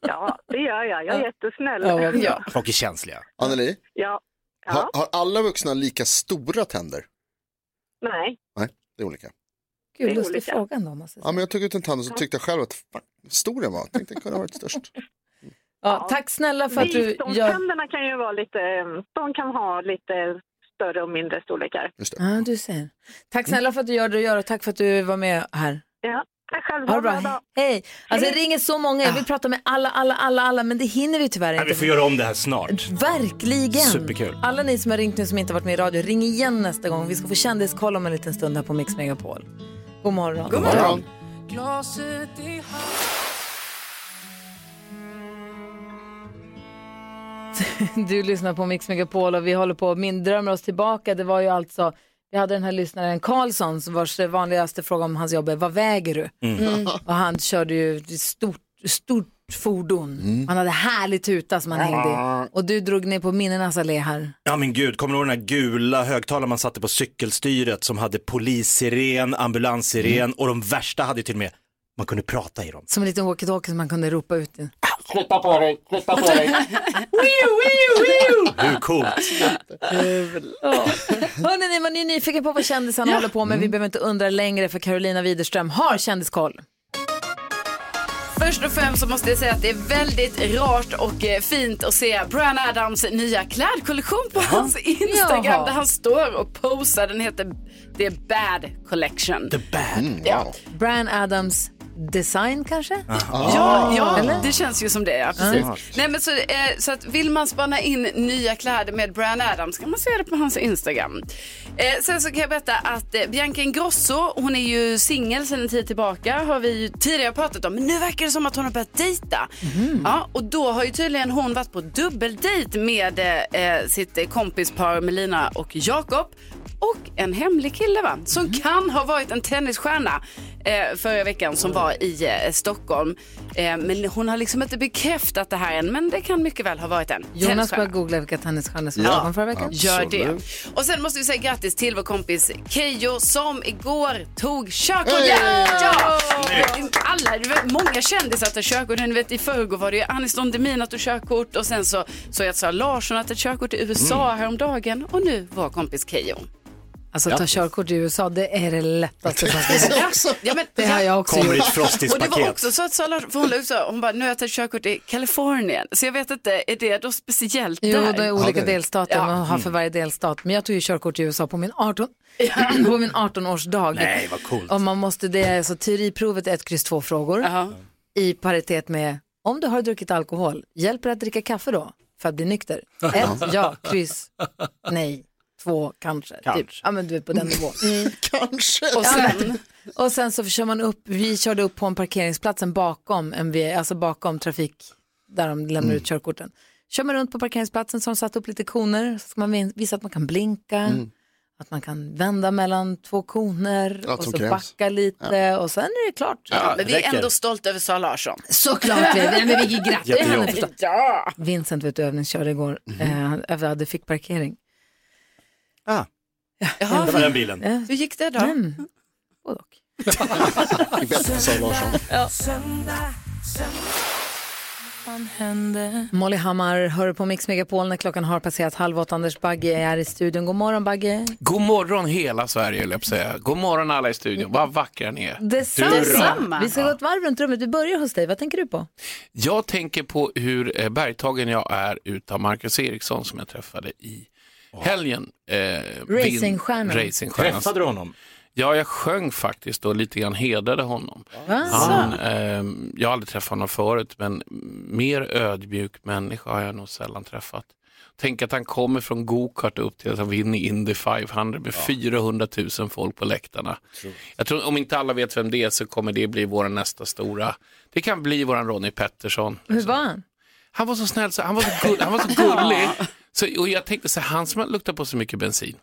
S15: Ja, det gör jag. Jag är jättesnäll.
S6: Folk är känsliga.
S5: Anneli,
S15: Ja.
S5: har, har alla vuxna lika stora tänder?
S15: Nej.
S5: Nej, det är olika.
S15: Det
S4: Gud,
S15: är
S4: lustig
S15: olika.
S4: fråga ändå. om man säger.
S5: Ja, men jag tog ut en tand och så tyckte jag själv att fan, stor den var. Tänkte den kunde ha varit störst.
S4: Ja, tack snälla för att du gör...
S15: Visdomständerna kan ju vara lite... De kan ha lite större och mindre storlekar.
S4: Ja, du ser.
S6: Mm.
S4: Tack snälla för att du gör det du gör och tack för att du var med här.
S15: Ja, tack själv.
S4: Ha det bra. Hej! Alltså det ringer så många, jag vill prata med alla, alla, alla, alla, men det hinner vi tyvärr
S6: Ah. Nej,
S4: inte.
S6: vi får göra om det här snart.
S4: Verkligen!
S6: Superkul.
S4: Alla ni som har ringt nu som inte varit med i radio, ring igen nästa gång. Vi ska få kändiskoll om en liten stund här på Mix Megapol. God morgon.
S1: God morgon.
S4: Glaset i Du lyssnar på Mix Megapol och vi håller på att min- drömmer oss tillbaka. Det var ju alltså, vi hade den här lyssnaren Karlsson som vars vanligaste fråga om hans jobb är vad väger du?
S1: Mm. Mm.
S4: Och han körde ju ett stort, stort fordon. Han hade härlig tuta som han hängde i. Och du drog ner på minnenas allé här.
S6: Ja men gud, kommer du ihåg den här gula högtalaren man satte på cykelstyret som hade polissiren, ambulanssiren och de värsta hade ju till och med, man kunde prata i dem.
S4: Som en liten walkie-talkie som man kunde ropa ut. i.
S6: Flytta på dig, flytta på dig. Hur coolt?
S4: Hörrni, ni, man är ju nyfiken på vad kändisarna håller på med. Vi behöver inte undra längre för Carolina Widerström har kändiskoll.
S7: Först och främst så måste jag säga att det är väldigt rart och eh, fint att se Bryan Adams nya klädkollektion på hans Instagram
S4: Jaha.
S7: där han står och posar. Den heter The Bad Collection. The
S6: Bad?
S7: ja.
S4: Brian Adams design kanske?
S7: Ah. Ja, ja
S4: Eller?
S7: det känns ju som det. Ja, precis. Nej, men så, eh, så att vill man spana in nya kläder med Bryan Adams kan man se det på hans Instagram. Eh, sen så kan jag berätta att eh, Bianca Ingrosso, hon är ju singel sedan en tid tillbaka, har vi ju tidigare pratat om. Men nu verkar det som att hon har börjat dejta. Ja, och då har ju tydligen hon varit på dubbeldejt med eh, eh, sitt eh, kompispar Melina och Jakob. Och en hemlig kille va? Som kan ha varit en tennisstjärna eh, förra veckan som var i eh, Stockholm. Eh, men hon har liksom inte bekräftat det här än men det kan mycket väl ha varit en
S4: Jonas
S7: tennisstjärna.
S4: började googla vilka tennisstjärnor som var förra veckan.
S7: Gör det. Och sen måste vi säga grattis till vår kompis Keyyo som igår tog körkort.
S4: Hey!
S7: Ja! Alla, det var många kändisar att ta körkort. Ni vet, I förrgår var det ju Anis Don Demina att ta körkort och sen så såg jag att Sara Larsson att ta körkort i USA
S4: Mm.
S7: häromdagen och nu vår kompis Keyyo.
S4: Alltså
S7: Ja.
S4: ta körkort i USA, det är det lättaste som finns.
S7: Ja, men,
S4: Det har jag också
S6: Kommer i
S4: gjort.
S6: ett frostigt
S7: och det var
S6: paket.
S7: också så att Sara Larsson, för hon la ut så här, hon bara, nu har jag tagit körkort i Kalifornien. Så jag vet inte, är det då speciellt
S4: Jo,
S7: där?
S4: det Mm. är olika delstater man har för varje delstat. Men jag tog ju körkort i USA på min 18, på min 18-årsdag.
S6: Nej, vad coolt.
S4: Och man måste, det är alltså teoriprovet är ett kryss två frågor i paritet med om du har druckit alkohol, hjälper det att dricka kaffe då för att bli nykter? Ett, ja, kryss, nej, två, kanske. Typ.
S7: Kanske.
S4: Ja, men du är på den nivån.
S5: Kanske.
S7: Och sen,
S4: Och Mm. sen så kör man upp, vi körde upp på en parkeringsplatsen bakom, MV, alltså bakom trafik, där de lämnar ut körkorten. Kör man runt på parkeringsplatsen så har de satt upp lite koner, så ska man vin- visa att man kan blinka,
S5: Mm.
S4: att man kan vända mellan två koner
S7: Allt
S4: och
S7: som
S4: så
S7: krävs.
S4: backa lite och sen är det klart.
S7: Ja, men vi är ändå stolta över Sara Larsson.
S4: Såklart vi är. Nej, men vi grattar henne
S7: Jättejobb.
S4: förstås.
S7: Ja.
S4: Vincent vet du övningskörde igår, mm. eh, hade fick parkering.
S6: Ah.
S4: Ja,
S6: Det var den bilen.
S4: Ja.
S7: Hur gick det då?
S4: Mm.
S5: Det är bättre för Sara Larsson.
S4: Molly Hammar hör på Mix Megapol när klockan har passerat halv åtta. Anders Bagge är i studion. God morgon Bagge.
S16: God morgon hela Sverige, höll jag på att säga. God morgon alla i studion. Vad vackra ni är.
S4: Detsamma. Vi ska gå ett varv runt rummet. Vi börjar hos dig. Vad tänker du på?
S16: Jag tänker på hur eh, bergtagen jag är utav Marcus Eriksson som jag träffade i helgen. Eh,
S4: Racingstjärnan.
S16: vin- Racingstjärnan.
S6: Träffade du honom?
S16: Ja, jag sjöng faktiskt och lite grann hedrade honom.
S4: Va?
S16: Han, ehm, jag har aldrig träffat honom förut, men mer ödmjuk människa har jag nog sällan träffat. Tänk att han kommer från gokart upp till att han vinner Indy 500 med 400 000 folk på läktarna. Jag tror, om inte alla vet vem det är så kommer det bli vår nästa stora. Det kan bli vår Ronnie Pettersson.
S4: Hur var han?
S16: Alltså, Han var så snäll, så, han, var så gull, han var så gullig. Så, och jag tänkte så här, han som luktar på så mycket bensin.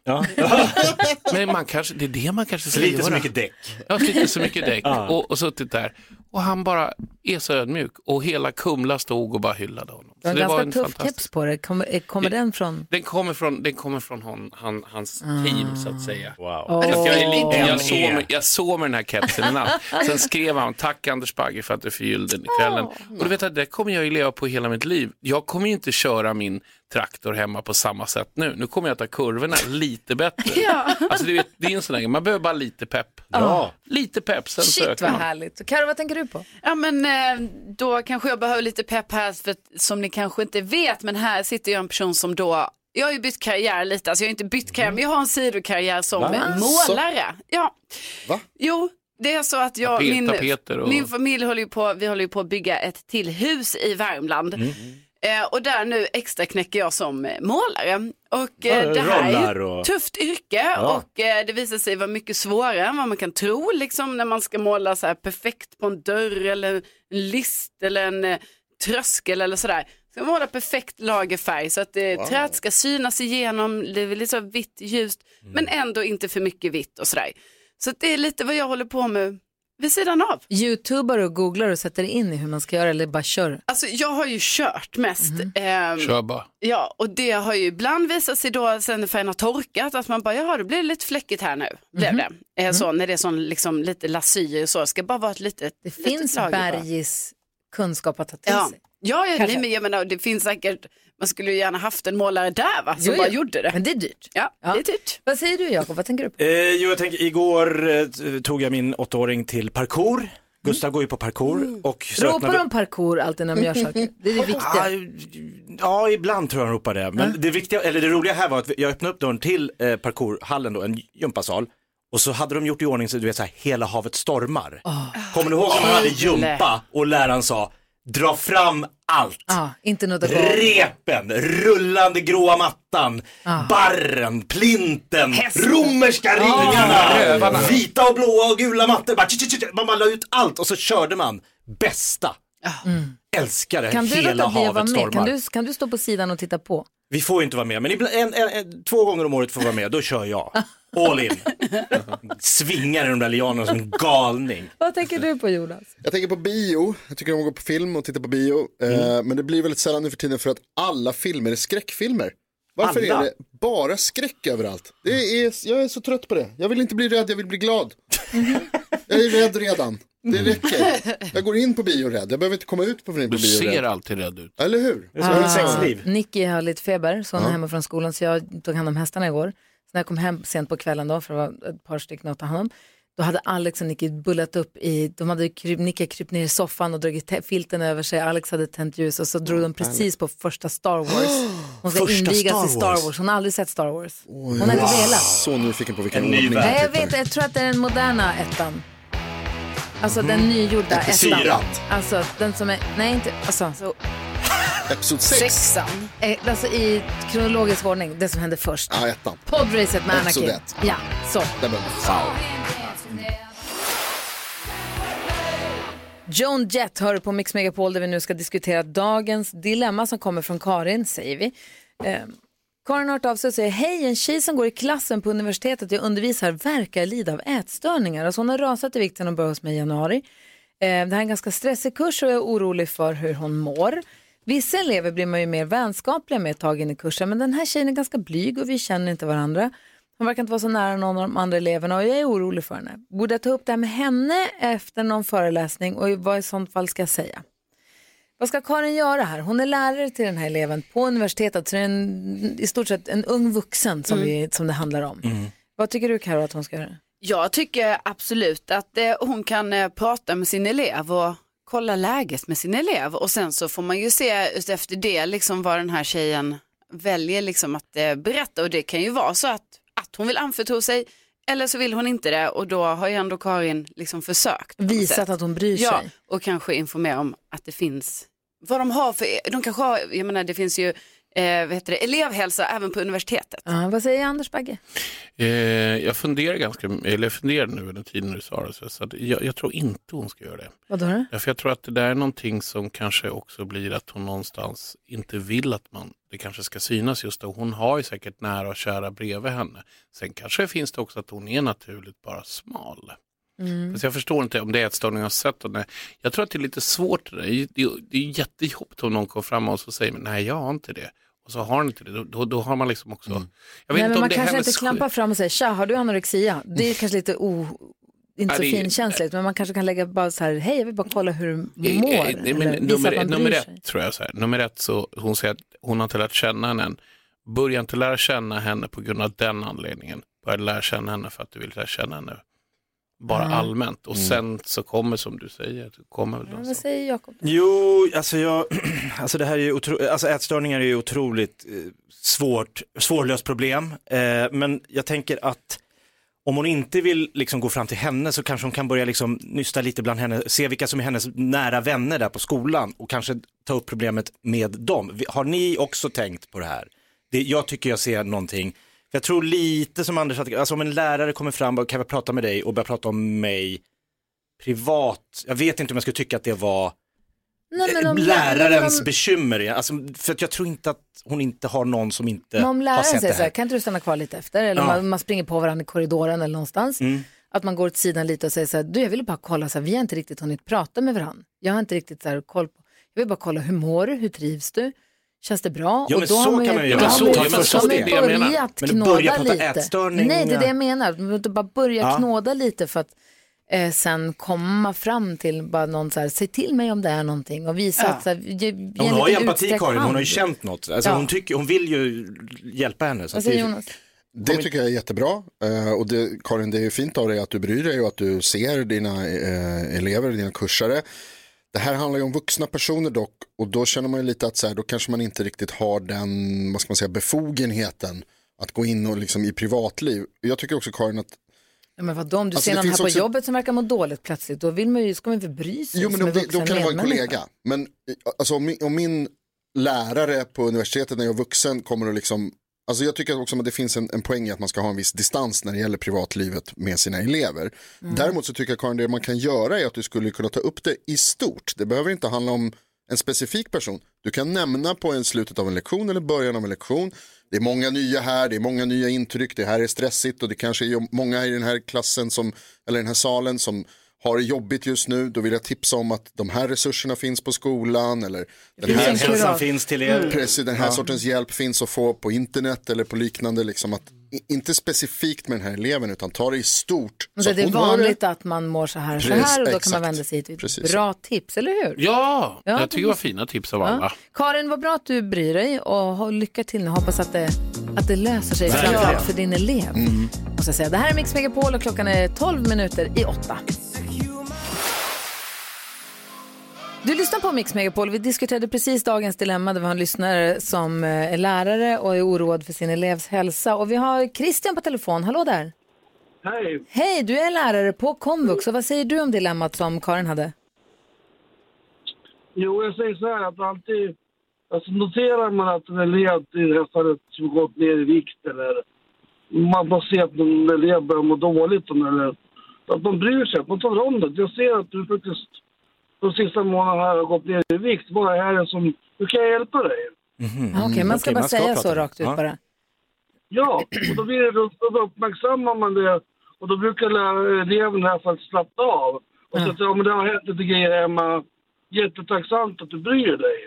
S16: Men man kanske, det är det man kanske ska
S6: Sliter så
S16: göra.
S6: mycket däck.
S16: Ja, sliter så mycket däck.
S6: Ja.
S16: Och, och suttit där. Och han bara är så ödmjuk. Och hela Kumla stod och bara hyllade honom.
S4: Du
S16: Så
S4: har en
S16: det var en
S4: ganska tuff
S16: fantastisk...
S4: keps på dig. Kommer, eh, kommer den från?
S16: Den kommer från, den kommer från hon, han, hans team så att säga. Wow.
S4: Åh.
S16: Så att jag, är lite,
S4: Mm.
S16: jag, såg mig, jag såg mig den här kepsen i natt. Sen skrev han, tack Anders Bagge för att du förgyllde kvällen. Och du vet att det kommer jag ju leva på hela mitt liv. Jag kommer ju inte köra min traktor hemma på samma sätt nu. Nu kommer jag ta kurvorna lite bättre. Alltså, du vet, det är en sån där grej, man behöver bara lite pepp.
S4: Ja.
S16: Lite pepp, sen
S4: Shit
S16: söker
S4: vad
S16: man.
S4: härligt. Karo, vad tänker du på?
S7: Ja, men eh, då kanske jag behöver lite pepp här, för att, som ni kanske inte vet, men här sitter jag en person som då, jag har ju bytt karriär lite, alltså jag har inte bytt karriär, men jag har en sidokarriär som
S16: Va?
S7: målare. Ja.
S5: Va?
S7: Jo, det är så att jag,
S16: Tapet-
S7: min,
S16: tapeter och-
S7: min familj håller ju på, vi håller ju på att bygga ett till hus i Värmland.
S16: Mm.
S5: Mm.
S7: Eh, och där nu extra knäcker jag som eh, målare. Och eh,
S6: Ja,
S7: det här är
S6: rollar
S7: ju
S6: och-
S7: tufft yrke
S6: Ja.
S7: och eh, det visar sig vara mycket svårare än vad man kan tro liksom, när man ska måla så här perfekt på en dörr eller en list eller en eh, tröskel eller sådär. Ska man måla perfekt lagerfärg så att eh,
S17: Wow.
S7: träet ska synas igenom, det är lite så vitt ljust
S6: Mm.
S7: men ändå inte för mycket vitt och sådär. Så att det är lite vad jag håller på med vid sidan av.
S4: Youtubar och googlar och sätter in i hur man ska göra eller bara kör?
S7: Alltså jag har ju kört mest.
S4: Mhm.
S7: ehm,
S16: Kör bara.
S7: Ja, och det har ju ibland visat sig då sen färgen har torkat att man bara, jaha, det blir lite fläckigt här nu. Blev
S4: Mhm.
S7: det. Eh, Så,
S4: Mm.
S7: när det är sån, liksom, lite lasyr och så, det ska bara vara ett litet
S4: Det finns Bergis kunskap att ta till
S7: Ja,
S4: sig.
S7: ja, ja nej,
S4: Kanske.
S7: men jag menar, det finns säkert, man skulle ju gärna haft en målare där va, som
S4: Jo,
S7: bara
S4: jo.
S7: gjorde det.
S4: Men det är dyrt.
S7: Ja, det är dyrt.
S4: Vad säger du Jakob? Vad tänker du på?
S6: Eh, jo, jag tänker, igår eh, t- tog jag min åttaåring till parkour. Gustav går ju på parkour och
S4: Ropar de parkour alltid när de gör saker? Det är det viktiga.
S6: Ja, ibland tror jag han ropar det. Men det, viktiga, eller det roliga här var att jag öppnade upp dörren till eh, parkourhallen då, en gympasal. Och så hade de gjort i ordning så du vet så här, hela havet stormar. Kommer du ihåg när man hade gympa och läraren sa, dra fram allt.
S4: Ja, inte något att gå.
S6: Repen, rullande gråa mattan,
S4: Ah.
S6: barren, plinten, romerska ringarna,
S16: rövarna.
S6: vita och blåa och gula mattor. Bara, tch, tch, tch, man bara la ut allt och så körde man bästa. Älskade
S4: Ah. Kan du låta
S6: hela
S4: bli att vara
S6: havet
S4: med? Kan
S6: stormar.
S4: du, kan du stå på sidan och titta på?
S6: Vi får ju inte vara med, men ibland, en, en, en, två gånger om året får vi vara med, då kör jag. All in. Svingar i de där lianerna som en galning.
S4: Vad tänker du på Jonas?
S5: Jag tänker på bio, jag tycker om att gå på film och titta på bio. Eh,
S6: Mm.
S5: men det blir väldigt sällan nu för tiden för att alla filmer är skräckfilmer. Varför är
S6: Alla?
S5: det bara skräck överallt? Det är, jag är så trött på det. Jag vill inte bli rädd, jag vill bli glad. jag är rädd redan. Det räcker. Jag går in på bio rädd, jag behöver inte komma ut på på bio
S16: Du ser
S5: rädd.
S16: alltid rädd ut.
S5: Eller hur?
S4: Ah,
S5: Ah.
S4: Nicky har lite feber, så hon är
S5: Ja.
S4: hemma från skolan, så jag tog hand om hästarna igår. Så när jag kom hem sent på kvällen då, för det var ett par stycken att ta hand om, då hade Alex och Nicky bullat upp i, de hade kryp, Nicky krypt ner i soffan och dragit te- filten över sig, Alex hade tänt ljus och så drog de precis på första Star Wars. Hon ska
S5: Första
S4: invigas
S5: Star
S4: i Star
S5: Wars.
S4: Wars, hon har aldrig sett Star Wars.
S5: Oj,
S4: hon har inte
S5: jag är
S4: velat.
S5: Så nyfiken på vilken
S6: En ny
S5: ordning
S4: Nej,
S5: jag
S4: jag vet, jag tror att det är den moderna ettan. Alltså den nygjorda
S5: Episod
S4: ettan.
S5: Mm. fyra.
S4: Alltså den som är, nej inte, alltså. Så,
S5: Episod 6.
S4: Eh, Alltså i kronologisk ordning, det som hände först.
S5: Ja, ettan.
S4: Podracet med
S5: Episod
S4: Anakin.
S5: ett.
S4: Ja, så.
S5: Där börjar man.
S4: Joan Jett hör på Mix Megapol där vi nu ska diskutera dagens dilemma som kommer från Karin, säger vi. Eh, Karin har hört av sig och säger, hej, en tjej som går i klassen på universitetet jag undervisar verkar lida av ätstörningar. Alltså hon har rasat i vikt sedan hon började hos mig i januari. Eh, Det här är en ganska stressig kurs och jag är orolig för hur hon mår. Vissa elever blir man ju mer vänskapliga med ett tag in i kursen, men den här tjejen är ganska blyg och vi känner inte varandra. Hon verkar inte vara så nära någon av de andra eleverna och jag är orolig för henne. Borde jag ta upp det här med henne efter någon föreläsning och vad i sånt fall ska jag säga? Vad ska Karin göra här? Hon är lärare till den här eleven på universitetet, så det är en, i stort sett en ung vuxen som,
S16: Mm.
S4: vi, som det handlar om. Vad tycker du Karo att hon ska göra?
S7: Jag tycker absolut att eh, hon kan eh, prata med sin elev och kolla läget med sin elev och sen så får man ju se ut efter det liksom vad den här tjejen väljer liksom att eh, berätta och det kan ju vara så att, att hon vill anförtro sig eller så vill hon inte det och då har ju ändå Karin liksom försökt. på något
S4: Visat
S7: sätt.
S4: att hon bryr
S7: ja,
S4: sig.
S7: och kanske informera om att det finns vad de har för, de kanske har, jag menar det finns ju eh, vad heter det, elevhälsa även på universitetet.
S4: Ja, vad säger Anders Bagge?
S16: Eh, jag funderar ganska, eller jag funderar nu under tiden du sa det, så så att jag, jag tror inte hon ska göra det.
S4: Vad då?
S16: Därför jag tror att det där är någonting som kanske också blir att hon någonstans inte vill att man, det kanske ska synas just då. Hon har ju säkert nära och kära bredvid henne. Sen kanske finns det också att hon är naturligt bara smal.
S4: Mm.
S16: Fast jag förstår inte om det är ätstörning av sätt. Och nej. Jag tror att det är lite svårt. Det är, det är- det är jättejobbigt om någon kommer fram och så säger man, nej jag har inte det. Och så har hon inte det. Då, då, då har man liksom också... Jag vet
S4: Mm. Nej,
S16: inte
S4: men
S16: om
S4: man
S16: det är
S4: kanske
S16: hennes
S4: inte klampar fram och säger tja, har du anorexia? Det är kanske lite o... inte
S16: Ja,
S4: så
S16: det är-
S4: finkänsligt, men man kanske kan lägga bara så här, hej, jag vill bara kolla hur du
S16: Eh,
S4: mår.
S16: eh, nej, men
S4: eller visa
S16: nummer,
S4: att man bryr
S16: nummer
S4: sig.
S16: ett tror jag så här. Nummer ett så hon säger att hon har inte lärt känna henne än. Börja inte lära känna henne på grund av den anledningen. Börja lära känna henne för att du vill lära känna henne. Bara
S6: Mm.
S16: allmänt. Och sen så kommer som du säger. Det kommer väl
S4: Ja, vad säger Jakob?
S6: Jo, alltså, jag, alltså, det här är ju otro, alltså ätstörningar är ju otroligt eh, svårt, svårlöst problem. Eh, men jag tänker att om hon inte vill liksom, gå fram till henne så kanske hon kan börja liksom, nysta lite bland henne, se vilka som är hennes nära vänner där på skolan och kanske ta upp problemet med dem. Vi- Har ni också tänkt på det här? Det, jag tycker jag ser någonting. Jag tror lite som Anders, att- alltså om en lärare kommer fram och kan jag prata med dig och börjar prata om mig privat, jag vet inte om jag skulle tycka att det var
S4: Nej, men om
S6: lärarens
S4: om-
S6: bekymmer. ja. Alltså, för att jag tror inte att hon inte har någon som inte
S4: Men om
S6: har
S4: läraren säger
S6: sett det
S4: så här,
S6: här.
S4: kan inte du stanna kvar lite efter? Eller
S6: Ja.
S4: man, man springer på varandra i korridoren eller någonstans.
S6: Mm.
S4: Att man går åt sidan lite och säger så här, du jag ville bara kolla, så här, vi har inte riktigt hunnit prata med varandra. Jag har inte riktigt så här, koll på, jag vill bara kolla, hur mår du, hur trivs du? Känns det bra?
S6: Ja, men så
S4: har
S6: kan man ju göra.
S4: då
S6: Så,
S4: har
S6: ja,
S4: man
S6: men så,
S4: då har
S6: det är
S4: man
S6: det jag menar.
S4: börjat
S6: Men börja
S4: knåda
S6: prata
S4: lite.
S6: ätstörning,
S4: Nej, det är det
S6: ja.
S4: jag menar. Man måste bara börja
S6: Ja.
S4: knåda lite för att eh, sen komma fram till bara någon så här, säg till mig om det är någonting och visa
S6: Ja.
S4: att så här, ge, ge
S6: Hon har ju
S4: liten
S6: empati
S4: utsträckt
S6: Karin, hon har ju
S4: hand.
S6: känt något. Alltså,
S4: Ja.
S6: hon, tycker, hon vill ju hjälpa henne. så
S4: Vad
S6: att
S4: säger
S6: det-
S4: Jonas?
S5: Det tycker jag är jättebra. Eh, Och det, Karin, det är fint av dig att du bryr dig och att du ser dina eh, elever, dina kursare. Det här handlar ju om vuxna personer dock och då känner man ju lite att så här, då kanske man inte riktigt har den, vad ska man säga, befogenheten att gå in och liksom i privatliv. Jag tycker också Karin att
S4: Ja, men vadå, om du
S5: Alltså,
S4: ser
S5: det
S4: någon här
S5: finns
S4: på
S5: också-
S4: jobbet som verkar må dåligt plötsligt, då vill man ju, ska man ju inte bry sig.
S5: Jo, men om
S4: som en
S5: det,
S4: vuxen
S5: då kan det vara en
S4: medmänniska.
S5: kollega. Men eh, alltså, om, min, om min lärare på universitetet när jag är vuxen kommer och liksom, alltså jag tycker också att det finns en, en poäng i att man ska ha en viss distans när det gäller privatlivet med sina elever.
S18: Mm.
S5: Däremot så tycker jag Karin, det man kan göra är att du skulle kunna ta upp det i stort. Det behöver inte handla om en specifik person. Du kan nämna på en slutet av en lektion eller början av en lektion. Det är många nya här, det är många nya intryck, det här är stressigt och det kanske är många i den här klassen som, eller den här salen som har det jobbigt just nu, då vill jag tipsa om att de här resurserna finns på skolan eller den
S6: Finns
S5: här,
S6: en Hälsan kurator. finns till er. Mm.
S5: Precis, den här
S6: Ja.
S5: sortens hjälp finns att få på internet eller på liknande. Liksom att, i- inte specifikt med den här eleven utan ta det i stort.
S4: Men
S5: Så
S4: Det är
S5: hon hör
S4: vanligt att man mår så här, så
S5: Precis,
S4: här och då kan man
S5: exakt.
S4: vända sig hit.
S5: Precis
S4: Bra tips, eller hur?
S16: Ja,
S4: Ja,
S16: jag tycker det var fina tips av alla.
S4: Karin, vad bra att du bryr dig och ha lycka till nu. Hoppas att det, att det löser sig,
S16: Verkligen.
S4: framförallt för din elev.
S6: Mm.
S4: Måste jag säga. Det här är Mix Megapol och klockan är 12 minuter i åtta. Du lyssnar på Mix Megapol. Vi diskuterade precis dagens dilemma där vi har en lyssnare som eh, är lärare och är oroad för sin elevs hälsa. Och vi har Christian på telefon. Hallå där!
S19: Hej!
S4: Hej, du är lärare på komvux och vad säger du om dilemmat som Karin hade?
S19: Jo, jag säger så här att alltid... Alltså noterar man att en elev till nästan har gått ner i vikt eller man, man ser att en elev börjar må dåligt eller att man bryr sig, att man talar om det. Jag ser att du faktiskt de sista månaderna här har gått ner i vikt. Vad är det som... Hur kan jag hjälpa dig?
S4: Ja, Ah, Mm-hmm. Okej, man ska
S19: Mm. Okej,
S4: bara
S19: man ska
S4: säga
S19: prata
S4: så
S19: om det.
S4: rakt ut
S19: Ja.
S4: bara.
S19: Ja, och då, blir det, då, då uppmärksammar man det och då brukar lä- eleven här för att slappna av. Och så att ja, men det har hänt lite grejer hemma. Jättetacksamt att du bryr dig.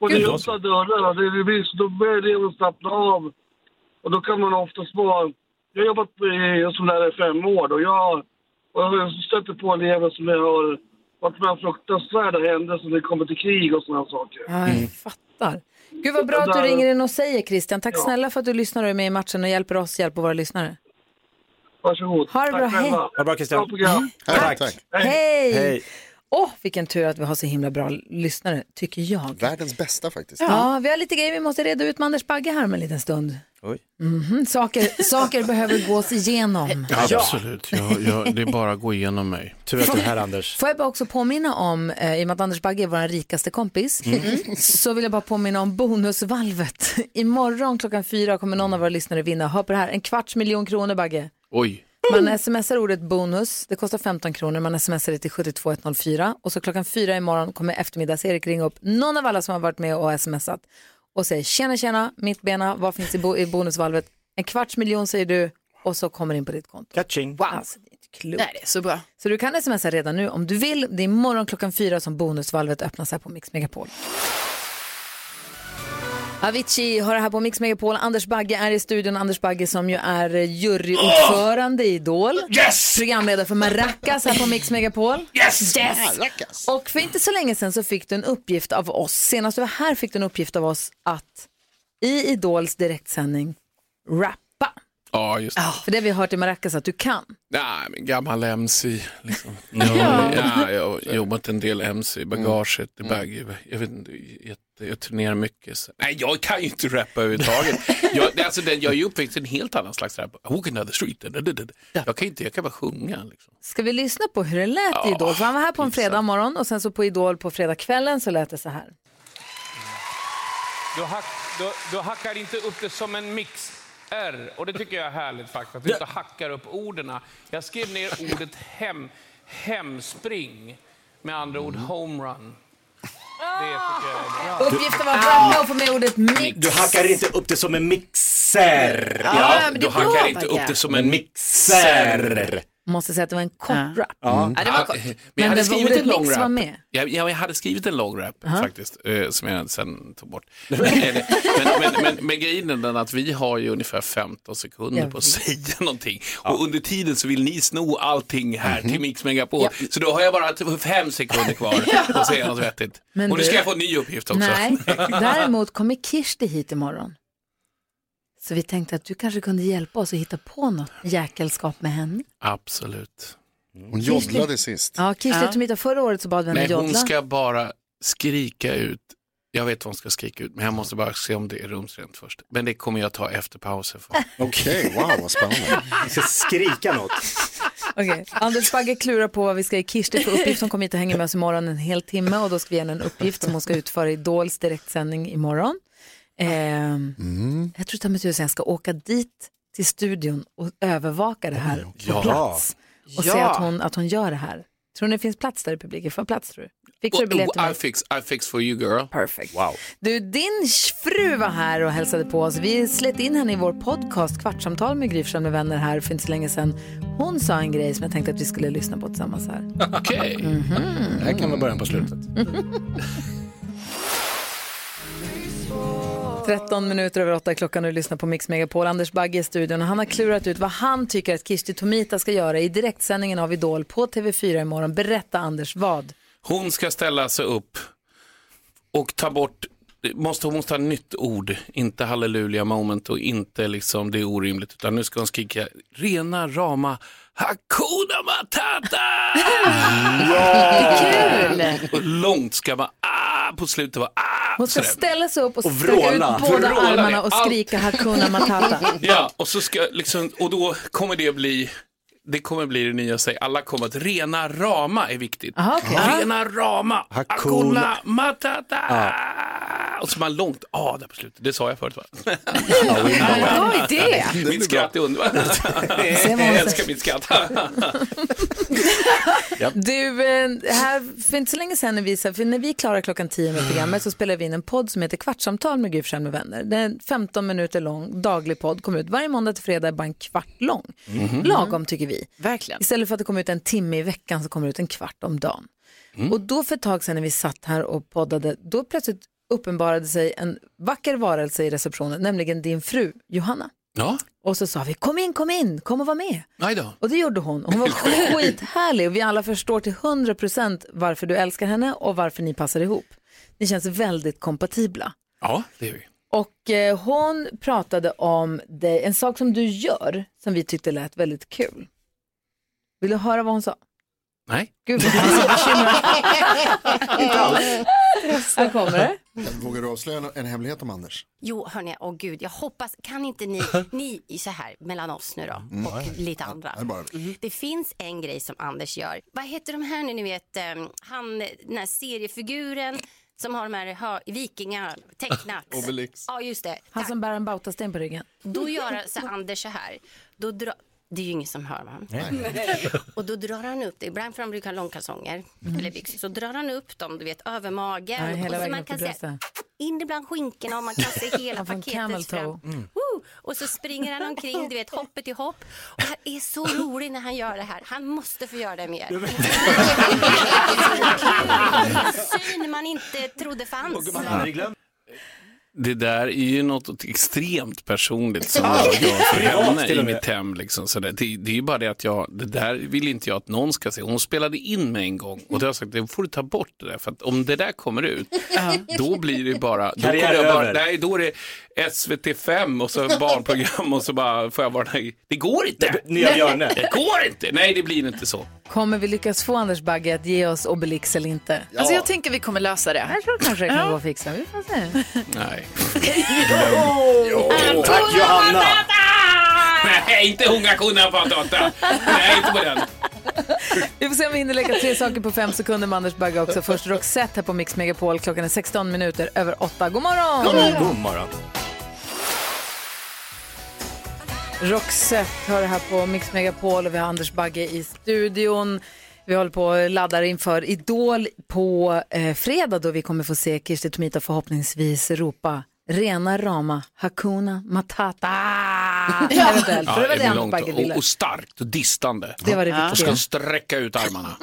S19: Och det är öppna dörrar och det, det blir, så- då börjar eleven slappna av. Och då kan man oftast vara... Jag har jobbat eh, som lärare i fem år då. Jag, och jag stöter på elever som jag har varit med om fruktansvärda händelser när det kommer till krig och sådana saker.
S4: Ja, jag fattar. Gud vad bra att du ringer in och säger Christian. Tack snälla för att du lyssnar och är med i matchen och hjälper oss, hjälper våra lyssnare.
S19: Varsågod.
S4: Ha det bra, hej.
S6: Ha det bra Christian.
S5: Mm.
S4: Tack. Hej!
S6: Hej.
S4: Åh, vilken tur att vi har så himla bra lyssnare, tycker jag.
S5: Världens bästa faktiskt.
S4: Ja, vi har lite grejer vi måste reda ut med Anders Bagge här om en liten stund.
S6: Oj.
S4: Mhm, saker, saker behöver gås igenom.
S16: Absolut, jag, jag, det är bara att gå igenom mig.
S6: Tur att du är här Anders.
S4: Får jag bara också påminna om, eh, i och med att Anders Bagge är vår rikaste kompis,
S6: Mm.
S4: så vill jag bara påminna om bonusvalvet. Imorgon klockan fyra kommer någon av våra lyssnare vinna, hör på det här, en kvarts miljon kronor Bagge.
S16: Oj.
S4: Man smsar ordet bonus, det kostar 15 kronor, man smsar det till 72104 och så klockan fyra imorgon kommer eftermiddags-Erik ringa upp någon av alla som har varit med och smsat och säger tjena tjena, mitt bena, vad finns i, bo- i bonusvalvet? En kvarts miljon säger du och så kommer det in på ditt konto.
S6: Catching.
S4: Wow. Alltså, det är inte klokt.
S7: Nej, det är så bra.
S4: Så du kan smsa redan nu om du vill. Det är imorgon klockan fyra som bonusvalvet öppnas här på Mix Megapol. Avicii har det här på Mix Megapol. Anders Bagge är i studion. Anders Bagge som ju är eh, juryordförande i Idol.
S17: Oh! Yes!
S4: Programledare för Maracas här på Mix Megapol.
S17: Yes!
S4: yes!
S17: Maracas.
S4: Och för inte så länge sedan så fick du en uppgift av oss. Senast du var här fick du en uppgift av oss att i Idols direktsändning rappa.
S16: Ja, just det.
S4: För det vi har hört i Maracas att du kan.
S16: Nej, men gammal MC. Liksom. ja. Ja, jag har jobbat en del MC i bagaget. i Baggy. Jag, vet, inte, jätte, jag turnerar mycket. Så. Nej, jag kan ju inte rappa överhuvudtaget. jag, det- alltså, den, jag är ju uppväxt i en helt annan slags rap. Walking down the street. da, da, da, da. Jag kan, inte, jag kan bara sjunga. Liksom.
S4: Ska vi lyssna på hur det lät i
S16: Ja,
S4: Idol? För han var här på en fredag morgon och sen så på Idol på fredagskvällen så lät det så här.
S20: Du, hack, du, du hackar inte upp det som en mix. R, och det tycker jag är härligt faktiskt, att du inte hackar upp orden. Jag skrev ner ordet hem, hemspring, med andra ord homerun. Det tycker jag är bra.
S4: Uppgiften var bra och få med ordet mix.
S6: Du hackar inte upp det som en mixer.
S4: Ja, men det
S16: du
S4: är bra,
S16: hankar inte
S4: Bagge.
S16: upp det som en mixer.
S4: Måste säga att det var en kort rap. Ja, det var kort.
S16: Mm. Ah, eh, Men jag
S4: Men
S16: hade
S4: det var
S16: skrivit
S4: ordet
S16: en lång
S4: mix var
S16: rap.
S4: med.
S16: Jag, jag, jag hade skrivit en lång rap
S4: Aha.
S16: faktiskt, eh, som jag sen tog bort. men, men, men, men grejen är den att vi har ju ungefär 15 sekunder
S6: Jag
S16: på att säga någonting. Och under tiden så vill ni sno allting här
S5: Mhm.
S16: till Mix Megapol.
S4: Ja.
S16: Så då har jag bara typ fem sekunder kvar att säga något vettigt.
S4: Men
S16: och nu
S4: du-
S16: ska jag få en ny uppgift också.
S4: Nej, däremot kommer Kirsti hit imorgon. Så vi tänkte att du kanske kunde hjälpa oss att hitta på något jäkelskap med henne.
S16: Absolut.
S5: Hon joddlade sist.
S4: Ja, Kirsti Tomita, förra året så bad vi henne
S16: Nej, hon
S4: joddla.
S16: ska bara skrika ut. Jag vet vad hon ska skrika ut, men jag måste bara se om det är rumsrent först. Men det kommer jag ta efter pausen.
S5: Okej, wow, vad spännande.
S16: Jag ska skrika något.
S4: Okej. Anders Bagge klurar på vad vi ska ge Kirsti för uppgift. Hon kommer hit och hänger med oss imorgon en hel timme och då ska vi ge henne en uppgift som hon ska utföra i Idols direktsändning imorgon. Ehm, Jag tror att jag ska åka dit till studion och övervaka det här på
S16: Ja.
S4: plats och
S16: Ja.
S4: se att hon, att hon gör det här. Tror ni det finns plats där i publiken? Får jag plats tror du? Fixar du biljett till mig?
S16: I fix, I fix for you girl.
S4: Perfect.
S16: Wow.
S4: Du, din fru var här och hälsade på oss. Vi slet in henne i vår podcast Kvartsamtal med Gry Forssell med vänner här för inte så länge sedan. Hon sa en grej som jag tänkte att vi skulle lyssna på tillsammans här.
S16: Okej.
S4: Mhm.
S6: Det här kan vara början på slutet.
S4: 13 minuter över 8 klockan och du lyssnar på Mix Megapol. Anders Bagge i studion och han har klurat ut vad han tycker att Kirsti Tomita ska göra i direktsändningen av Idol på TV4 imorgon. Berätta Anders, vad?
S16: Hon ska ställa sig upp och ta bort, måste, hon måste ha nytt ord, inte halleluja moment och inte liksom det är orimligt, utan nu ska hon skrika rena rama Hakuna Matata!
S4: Ja!
S16: Och långt ska man ah, på slutet vara ah,
S4: Hon ska
S16: sådär.
S4: ställa sig upp och,
S16: Och
S4: sträcka ut
S16: vråla.
S4: båda
S16: Vråla ner.
S4: armarna och
S16: Allt.
S4: skrika Hakuna Matata.
S16: Ja, och, så ska, liksom, och då kommer det bli det kommer bli det nya, säg alla kommer att rena rama är viktigt.
S4: Aha, okej.
S16: Rena rama, hakuna matata.
S4: Ah.
S16: Ah, Och så man långt A där på slutet, det sa jag förut va?
S7: Bra idé!
S16: Mitt skratt är underbart.
S4: vad hon
S16: Jag älskar mitt skratt.
S4: Du, eh, här, för inte så länge sedan när vi, så här, för när vi är klara klockan 10 med programmet så spelar vi in en podd som heter Kvartsamtal med Gry Forssell med vänner. Det är en 15 minuter lång daglig podd, kommer ut varje måndag till fredag, bara en kvart lång.
S17: Mhm.
S1: Mm-hmm.
S4: Lagom tycker vi.
S7: Verkligen.
S4: Istället för att det kommer ut en timme i veckan så kommer det ut en kvart om dagen. Och då för ett tag sedan när vi satt här och poddade, då plötsligt uppenbarade sig en vacker varelse i receptionen, nämligen din fru Johanna.
S16: Ja,
S4: Och så sa vi, kom in, kom in, kom och var med.
S16: nej då.
S4: Och det gjorde hon. Hon var skithärlig och vi alla förstår till 100% varför du älskar henne och varför ni passar ihop. Ni känns väldigt kompatibla.
S16: Ja, det är vi.
S4: Och eh, hon pratade om dig, en sak som du gör som vi tyckte lät väldigt kul. Vill du höra vad hon sa?
S16: Nej.
S4: Gud, vad jag är så bekymrad.
S5: Inte
S4: Här kommer det.
S5: Vågar du avslöja en hemlighet om Anders?
S18: Jo, hörni, åh gud, jag hoppas, kan inte ni, ni är så här mellan oss nu då
S5: Mm.
S18: och
S5: Nej.
S18: lite andra.
S5: det är bara- Mm.
S18: Det finns en grej som Anders gör. Vad heter de här nu, ni vet, ehm, han, den här seriefiguren som har de här hö- vikingar tecknat.
S4: Obelix.
S18: Ja, just det.
S4: Han som bär en bautasten på ryggen.
S18: Då gör så Anders så här. Då dra... Det är ju ingen som hör va?
S4: Nej.
S18: Och då drar han upp det. Ibland för han brukar ha långkalsonger
S4: Mm.
S18: eller byxor. Så drar han upp dem, du vet, över magen.
S4: Ja, hela
S18: och så
S4: vägen
S18: man
S4: upp
S18: kan
S4: i
S18: se
S4: bröstet.
S18: in ibland skinkorna och man kan se hela
S4: Han får en camel
S18: paketet fram.
S4: toe. Mm.
S18: Woo! Och så springer han omkring, du vet, hoppet i hopp. Och han är så rolig när han gör det här. Han måste få göra det mer. Syn man inte trodde fanns.
S16: Det där är ju något extremt personligt som
S18: Ja.
S16: jag gör för
S18: Privat
S16: henne
S18: till
S16: i
S18: och med.
S16: mitt hem. Liksom, sådär. Det, det är ju bara det att jag, det där vill inte jag att någon ska se. Hon spelade in mig en gång och då har jag sagt, det får du ta bort det där, för att om det där kommer ut, då blir det ju bara, då kommer
S6: Karriär
S16: jag bara,
S6: över.
S16: nej, då är det SVT 5 och så barnprogram och så bara får jag vara, nej, det går inte.
S6: Nya Björne.
S16: Det går inte, nej det blir inte så.
S4: Kommer vi lyckas få Anders Bagge att ge oss Obelix eller inte?
S21: Alltså jag tänker vi kommer lösa det.
S4: Jag tror kanske det kan gå att fixa. Vi får se.
S16: Nej.
S4: Jo.
S16: Tack Johanna! Nej, inte hunga kunna patata. Nej, inte på den.
S4: Vi får se om vi hinner lägga tre saker på fem sekunder med Anders Bagge också. Först Roxette här på Mix Megapol. Klockan är 16 minuter över 8. God morgon!
S6: God morgon.
S4: Roxette hör det här på Mix Megapol och vi har Anders Bagge i studion. Vi håller på och laddar inför Idol på eh, fredag då vi kommer få se Kirsti Tomita förhoppningsvis ropa rena rama Hakuna Matata.
S16: Ah!
S4: Eventuellt, för det var det Anders Bagge ville.
S16: och, och starkt och distande.
S4: Det var det viktiga.
S16: Och ska sträcka ut armarna.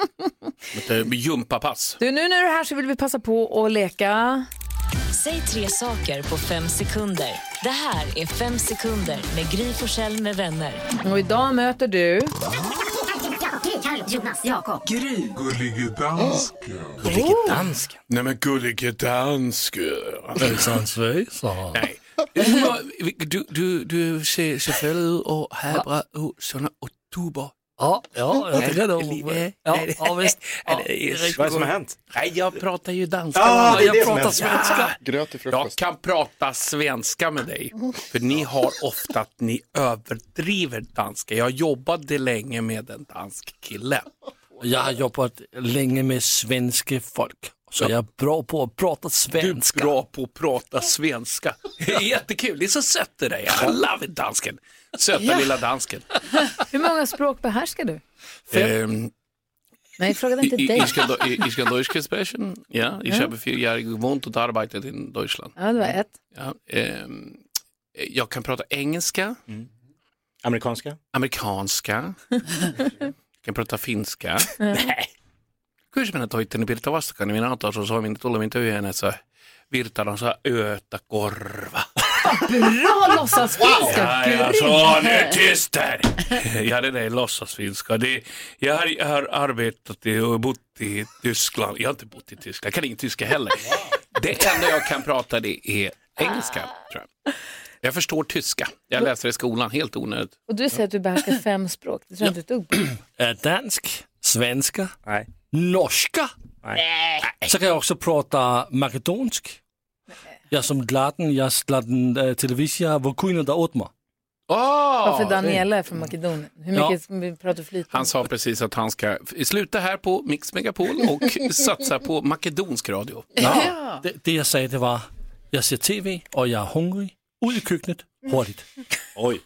S16: Med ett jumpapass.
S4: Du, nu när du är här så vill vi passa på att leka.
S22: Säg tre saker på fem sekunder. Det här är Fem sekunder med Gry Forssell med vänner.
S4: Och idag möter du...
S18: Jonas, Jakob.
S22: Gry.
S16: Gullige dansken. Gullige dansken? Nej men gullige dansken.
S9: Hejsan svejsan.
S16: Nej, Umeå, du, du, du ser selvfølgelig ud over at have bra ud, sådan og tuber.
S2: Ja, ja, jag tycker det.
S16: Livet.
S2: Ja, ja, visst.
S16: Ja, det är riktigt
S2: Vad är det som
S16: gott.
S2: har hänt?
S16: Nej, jag pratar ju danska.
S2: Ja, det är
S16: jag
S2: det som
S16: pratar
S2: hänt.
S16: svenska.
S5: Gröt i
S16: Jag kan prata svenska med dig, för ni har ofta att ni överdriver danska. Jag jobbade länge med en dansk kille.
S2: Jag har jobbat länge med svenska folk, så jag är bra på att prata svenska.
S16: Du är bra på att prata svenska. Det är jättekul, det är så sött det där. I love it, dansken. Söta
S4: Ja.
S16: lilla dansken.
S4: Hur många språk behärskar du?
S16: Ehm,
S4: Nej, jag frågade inte
S16: i- i-
S4: dig.
S16: ich kann- i- ich kann Deutsch sprechen. Ja, ich
S4: Ja.
S16: habe vier Jahre gewohnt und arbeitet in Deutschland.
S4: Ja, det var ett.
S16: Ja, ehm, jag kan prata engelska.
S6: Amerikanska?
S16: Amerikanska. Jag kan prata finska.
S6: Nej.
S16: Kyllä minä toitteni Pirtta vastakkain, niin minä otan sun soimin, tulla minä yhden, että se virtalansa yötä korva.
S4: Bra låtsasfinska!
S16: Ja, ja,
S4: Grymt.
S16: så nu tyst där! Ja, det där är låtsasfinska. Det, jag har, jag har arbetat i och bott i Tyskland. Jag har inte bott i Tyskland, jag kan ingen tyska heller. Det enda jag kan prata det är engelska, tror jag. Jag förstår tyska. Jag läste det i skolan, helt onödigt.
S4: Och du säger att du behärskar fem språk. Det tror jag inte ett dugg på.
S2: Är dansk, svenska,
S6: Nej.
S2: norska. Så kan jag också prata makedonsk. Jag som Zlatan, jag Zlatan eh, Television, vår kvinna där åt mig.
S4: Varför Daniela är från Makedonien? Hur
S16: Ja.
S4: mycket vi pratar flyt?
S16: Han sa precis att han ska sluta här på Mix Megapol och satsa på makedonsk radio.
S2: Det, det jag sa det var, jag ser tv och jag är hungrig. Ut i köket, hurtigt.
S6: Oj.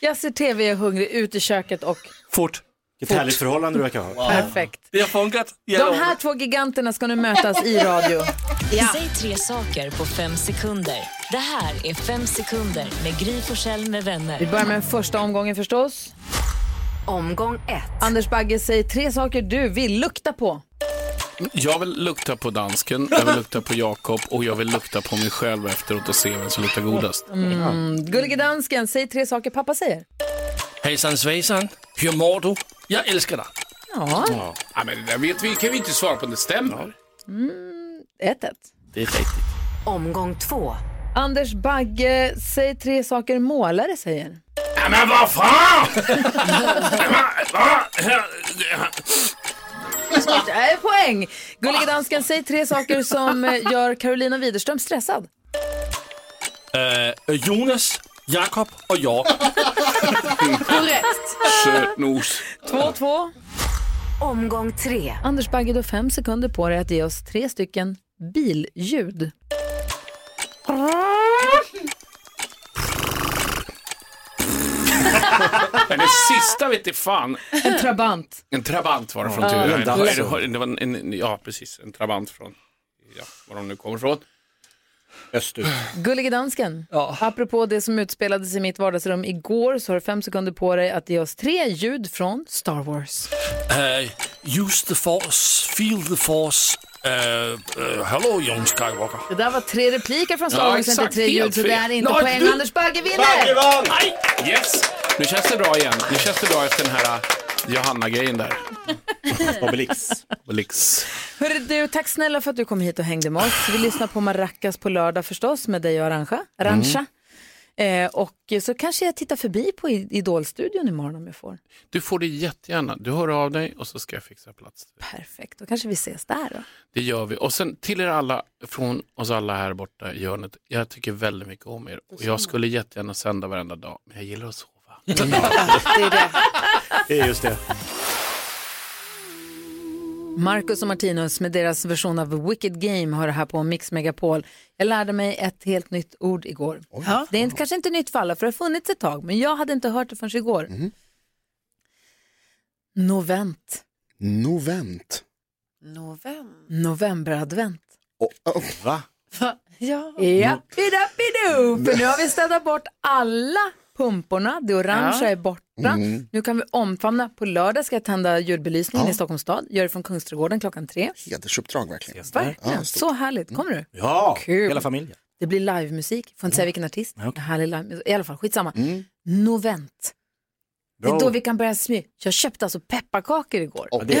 S4: Jag ser tv, jag är hungrig, ut i köket och
S2: Fort.
S6: Vilket härligt förhållande du verkar ha.
S4: perfekt.
S2: Det har funkat.
S4: De här två giganterna ska nu mötas i radio.
S21: Säg tre saker på fem sekunder. Det här är Fem sekunder med Gry Forssell med vänner.
S4: Vi börjar med den första omgången förstås.
S17: Omgång ett.
S4: Anders Bagge, säg tre saker du vill lukta på.
S16: Jag vill lukta på dansken, jag vill lukta på Jakob och jag vill lukta på mig själv efteråt och se vem som luktar godast.
S4: Mm. Gullige dansken, säg tre saker pappa säger.
S2: Hejsan svejsan, hur mår du? Jag älskar dig.
S4: Ja,
S16: Ja, men det där vet vi, kan vi inte svara på om det stämmer.
S4: Mm, ett, ett.
S2: Det är riktigt.
S17: Omgång två.
S4: Anders Bagge, säg tre saker målare säger.
S16: Ja, men vad fan!
S4: Smart, äh, poäng! Gullige dansken, säg tre saker som eh, gör Carolina Widerström stressad.
S2: Eh, Jonas, Jakob och jag.
S17: Korrekt.
S16: Sötnos.
S4: 2-2.
S17: Omgång tre.
S4: Anders Bagge, du har fem sekunder på dig att ge oss tre stycken billjud.
S16: Men det sista vet jag fan.
S4: En trabant.
S16: En trabant var det från
S4: Ja.
S16: Tyra.
S4: En dansare.
S16: Det var- Det var en, en, ja, precis. En trabant från, ja, var de nu kommer ifrån. Östut.
S4: Gullige dansken, apropå det som utspelades i mitt vardagsrum igår så har du fem sekunder på dig att ge oss tre ljud från Star Wars.
S2: Eh, use the force, feel the force. Eh, eh, hello young Skywalker.
S4: Det där var tre repliker från Star
S2: Ja,
S4: Wars, inte
S2: exakt.
S4: tre
S2: Helt
S4: ljud, så det är
S2: fel.
S4: inte
S2: Nej,
S4: poäng.
S2: du-
S4: Anders Bagge vinner!
S16: Nej! Yes! Nu känns det bra igen. Nu känns det bra efter den här äh, Johanna-grejen där. Obelix. Obelix.
S4: Hörru du, tack snälla för att du kom hit och hängde med oss. Vi lyssnar på Maracas på lördag förstås med dig och Arantxa. Arantxa. Eh, och så kanske jag tittar förbi på I- Idolstudion imorgon om jag får.
S16: Du får det jättegärna. Du hör av dig och så ska jag fixa plats.
S4: Perfekt, då kanske vi ses där då.
S16: Det gör vi. Och sen till er alla, från oss alla här borta i hörnet. Jag tycker väldigt mycket om er och jag skulle jättegärna sända varenda dag, men jag gillar att sova.
S6: Mm. Det är just det.
S4: Marcus och Martinus med deras version av Wicked Game har det här på Mix Megapol. Jag lärde mig ett helt nytt ord igår. Ja. Det är inte, kanske inte nytt för alla, för det har funnits ett tag, men jag hade inte hört det förrän igår. Novent.
S5: Novent.
S21: November.
S4: Novemberadvent.
S5: Va?
S4: Ja. Jappidappidoo! För nu har vi städat bort alla pumporna. Det orangea
S21: Ja.
S4: är borta.
S21: Mm.
S4: Nu kan vi omfamna. På lördag ska jag tända julbelysningen i Stockholms stad. Gör det från Kungsträdgården klockan tre.
S5: Hedersuppdrag verkligen.
S4: Verkligen. Så härligt. Kommer du?
S6: Ja,
S4: Kul.
S6: hela familjen.
S4: Det blir livemusik. Får inte säga vilken artist.
S6: Mm. Ja, okej. Mm.
S4: Härlig livemusik. I alla fall, skitsamma. Novent. Det
S6: Bra.
S4: är då vi kan börja smy. Jag köpte alltså pepparkakor igår.
S6: Ja, det är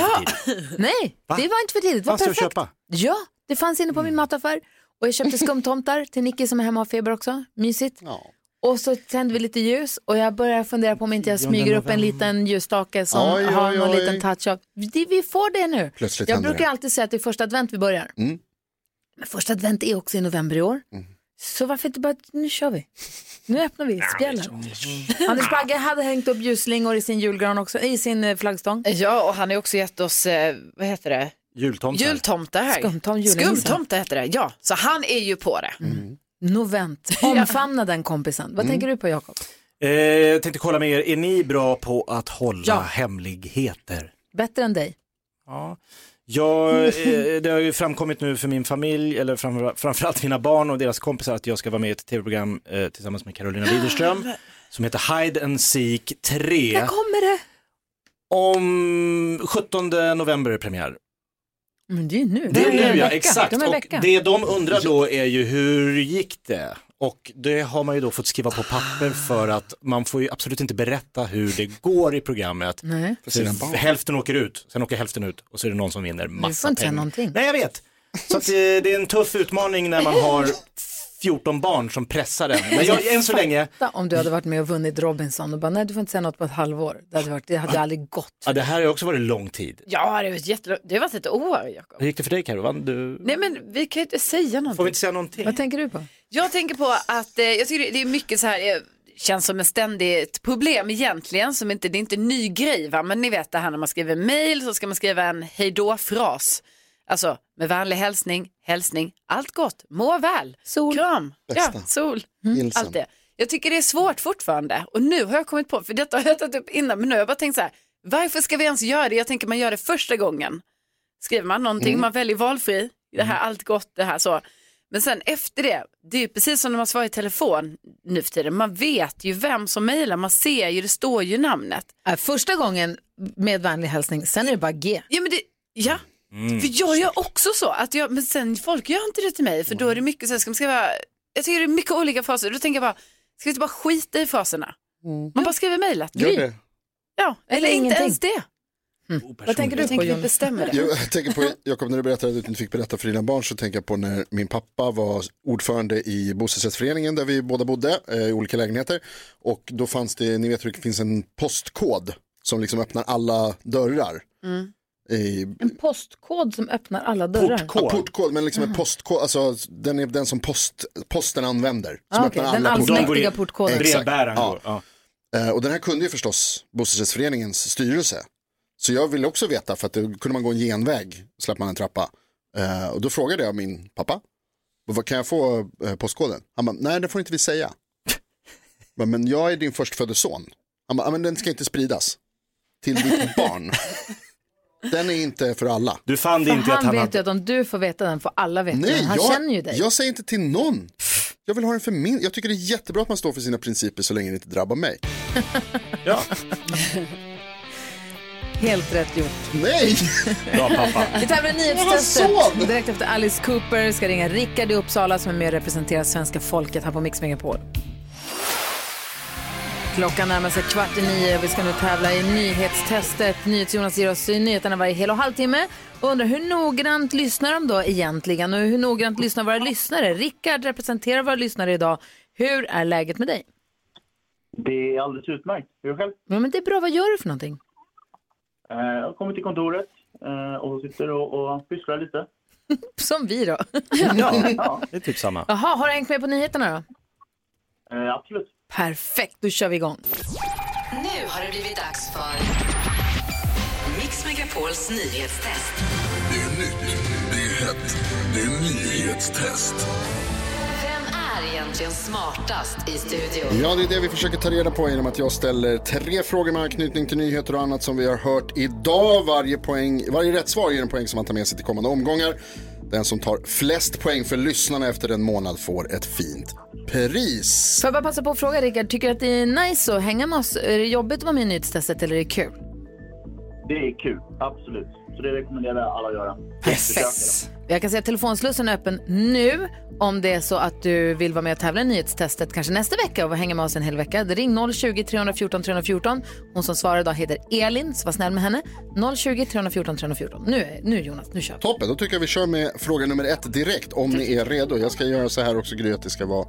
S6: för
S4: Nej, det var inte för tidigt. Det var
S6: Fanns det att
S4: perfekt.
S6: köpa? Mm.
S4: Ja, det fanns inne på min mataffär. Och jag köpte skumtomtar till Nicky som är hemma och har feber också. Mysigt. Och så tände vi lite ljus och jag börjar fundera på om inte jag
S23: Tionde
S4: smyger upp en
S23: november.
S4: liten ljusstake som
S23: Oj,
S4: har
S23: oj,
S4: någon
S23: oj.
S4: liten touch av. Vi vi får det nu.
S5: Plötsligt
S4: jag
S5: händer
S4: brukar
S5: det.
S4: alltid säga att det är första advent vi börjar.
S5: Mm.
S4: Men första advent är också i november i år.
S5: Mm.
S4: Så varför inte bara, nu kör vi. Nu öppnar vi spjällen. Anders Bagge hade hängt upp ljusslingor i sin julgran också, i sin eh, flaggstång.
S7: Ja, och han har ju också gett oss, eh, vad heter det?
S6: Jultomtar.
S7: Jultomte här.
S4: Skumtom, julenissen.
S7: Skumtomte heter det, ja. Så han är ju på det.
S4: Novent, omfamna den kompisen. Vad
S6: Mm.
S4: tänker du på Jakob?
S6: Eh, jag tänkte kolla med er, är ni bra på att hålla
S4: Ja.
S6: hemligheter?
S4: Bättre än dig?
S6: Ja.
S4: Mm.
S6: Jag, eh, det har ju framkommit nu för min familj, eller framför, framförallt mina barn och deras kompisar, att jag ska vara med i ett tv-program eh, tillsammans med Carolina
S4: Ah,
S6: Widerström som heter Hide and Seek 3.
S4: När kommer det?
S6: Om 17 november är premiär.
S4: Men det är ju nu.
S6: Det
S4: Om
S6: är
S4: en
S6: nu ja,
S4: vecka.
S6: exakt.
S4: Om en
S6: Och
S4: vecka.
S6: det de undrar då är ju hur gick det? Och det har man ju då fått skriva på papper för att man får ju absolut inte berätta hur det går i programmet.
S4: Nej.
S6: För Hälften åker ut, sen åker hälften ut och så är det någon som vinner massa
S4: Du får inte säga
S6: pengar.
S4: någonting.
S6: Nej, jag vet. Så att, eh, det är en tuff utmaning när man har 14 barn som pressar en. Men jag, än så länge,
S4: Fatta om du hade varit med och vunnit Robinson och bara nej du får inte säga något på ett halvår. Det hade, varit, det hade aldrig gått.
S6: ja, det här har ju också varit lång tid.
S7: Ja, det var ett jättelångt, det var ett år Jakob.
S6: Hur gick det för dig Carro? Vann du?
S7: Nej men vi kan ju inte säga någonting. Får vi
S6: inte säga någonting?
S4: Vad tänker du på?
S7: Jag tänker på att eh, jag tycker det är mycket så här, eh, känns som ett ständigt problem egentligen, som inte, det är inte en ny grej va, men ni vet det här när man skriver mail så ska man skriva en hejdå-fras. Alltså med vänlig hälsning, hälsning, allt gott, må väl, sol. kram,
S12: Bästa.
S7: ja, sol,
S12: Mm.
S7: allt det. Jag tycker det är svårt fortfarande och nu har jag kommit på, för detta har jag tagit upp innan, men nu har jag bara tänkt så här, varför ska vi ens göra det? Jag tänker man gör det första gången. Skriver man någonting,
S12: Mm.
S7: man väljer valfri, det
S4: Mm.
S7: här allt gott, det här så. Men sen efter det, det är ju precis som när man svarar i telefon nu för tiden, man vet ju vem som mejlar, man ser ju, det står ju namnet.
S4: Äh, Första gången med vänlig hälsning, sen är det bara G. Mm.
S7: Ja, men det, ja. för jag gör också så, att jag, men sen folk gör inte det till mig, för då är det mycket så här, ska man skriva, jag tycker det är mycket olika fraser, då tänker jag bara, ska vi inte bara skita i fraserna? Man bara skriver mejlet. Ja, eller,
S4: Mm. Eller
S7: inte
S4: ingenting. Mm.
S7: ens det. Vad tänker du på, Jonas? bestämmer det.
S5: Jo, Jag tänker på, Jakob, när du berättade att du inte fick berätta för dina barn så tänker jag på när min pappa var ordförande i bostadsrättsföreningen där vi båda bodde eh, i olika lägenheter. Och då fanns det, ni vet hur det finns en postkod som liksom öppnar alla dörrar.
S4: Mm.
S5: I,
S4: En postkod som öppnar alla dörrar.
S5: Ja, portkod, men liksom en postkod, alltså den är den som post, posten använder.
S4: Ah,
S5: Som
S4: okej,
S5: öppnar
S4: den
S5: alla portar.
S4: allsmäktiga portkoden.
S5: Exakt,
S4: Brevbäraren
S5: ja. Eh, Och den här kunde ju förstås bostadsrättsföreningens styrelse. Så jag ville också veta, för att då kunde man gå en genväg, slapp man en trappa. Eh, Och då frågade jag min pappa, vad kan jag få eh, postkoden? Han bara, nej det får inte vi säga. Jag bara, Men jag är din förstfödde son. Han bara, "Ja, men den ska inte spridas till ditt barn. Den är inte för alla.
S6: Du fann
S4: För han, vet ju att om du får veta den får alla veta
S5: Nej,
S4: den. Han
S5: jag,
S4: känner ju dig.
S5: jag säger inte till någon. Jag vill ha den för min. Jag tycker det är jättebra att man står för sina principer så länge det inte drabbar mig.
S4: Helt rätt gjort.
S5: Nej!
S6: Bra pappa.
S4: Vi tävlar i
S5: Jag
S4: nyhetstestet. Direkt efter Alice Cooper ska ringa Rickard i Uppsala som är med och representerar svenska folket här på Mix Megapol. Klockan närmar sig kvart i nio och vi ska nu tävla i nyhetstestet. NyhetsJonas ger oss nyheterna varje hel och halvtimme och undrar hur noggrant lyssnar de då egentligen och hur noggrant lyssnar våra lyssnare? Rickard representerar våra lyssnare idag. Hur är läget med dig?
S8: Det är alldeles utmärkt. Hur själv?
S4: Ja, men det är bra, vad gör du för någonting?
S8: Eh, Jag har kommit till kontoret eh, och sitter och, och pysslar lite.
S4: Som vi då.
S6: det är typ samma.
S4: Jaha, har du hängt med på nyheterna då?
S8: Eh, absolut.
S4: Perfekt, då kör vi igång.
S12: Nu har det blivit dags för Mix Megapols nyhetstest. Det är nytt, det är hett, det är nyhetstest. Vem är egentligen smartast i studion?
S5: Ja, det är det vi försöker ta reda på genom att jag ställer tre frågor med anknytning till nyheter och annat som vi har hört idag. Varje, poäng, varje rätt svar ger en poäng som man tar med sig till kommande omgångar. Den som tar flest poäng för lyssnarna efter en månad får ett fint pris.
S4: Får jag bara passa på att fråga Rickard, tycker du att det är nice att hänga med oss? Är det jobbigt att vara med i nyhetstestet eller är det kul?
S8: Det är kul, absolut. Så det rekommenderar jag alla att göra. Yes.
S4: Jag kan säga att telefonslussen är öppen nu om det är så att du vill vara med och tävla i nyhetstestet kanske nästa vecka och hänga med oss en hel vecka. Ring 020-314 314. Hon som svarar idag heter Elin, så var snäll med henne. 020-314 314. Nu, är- nu Jonas, nu kör vi.
S5: Toppen, då tycker jag vi kör med fråga nummer ett direkt om ni är redo. Jag ska göra så här också Gry, att det ska vara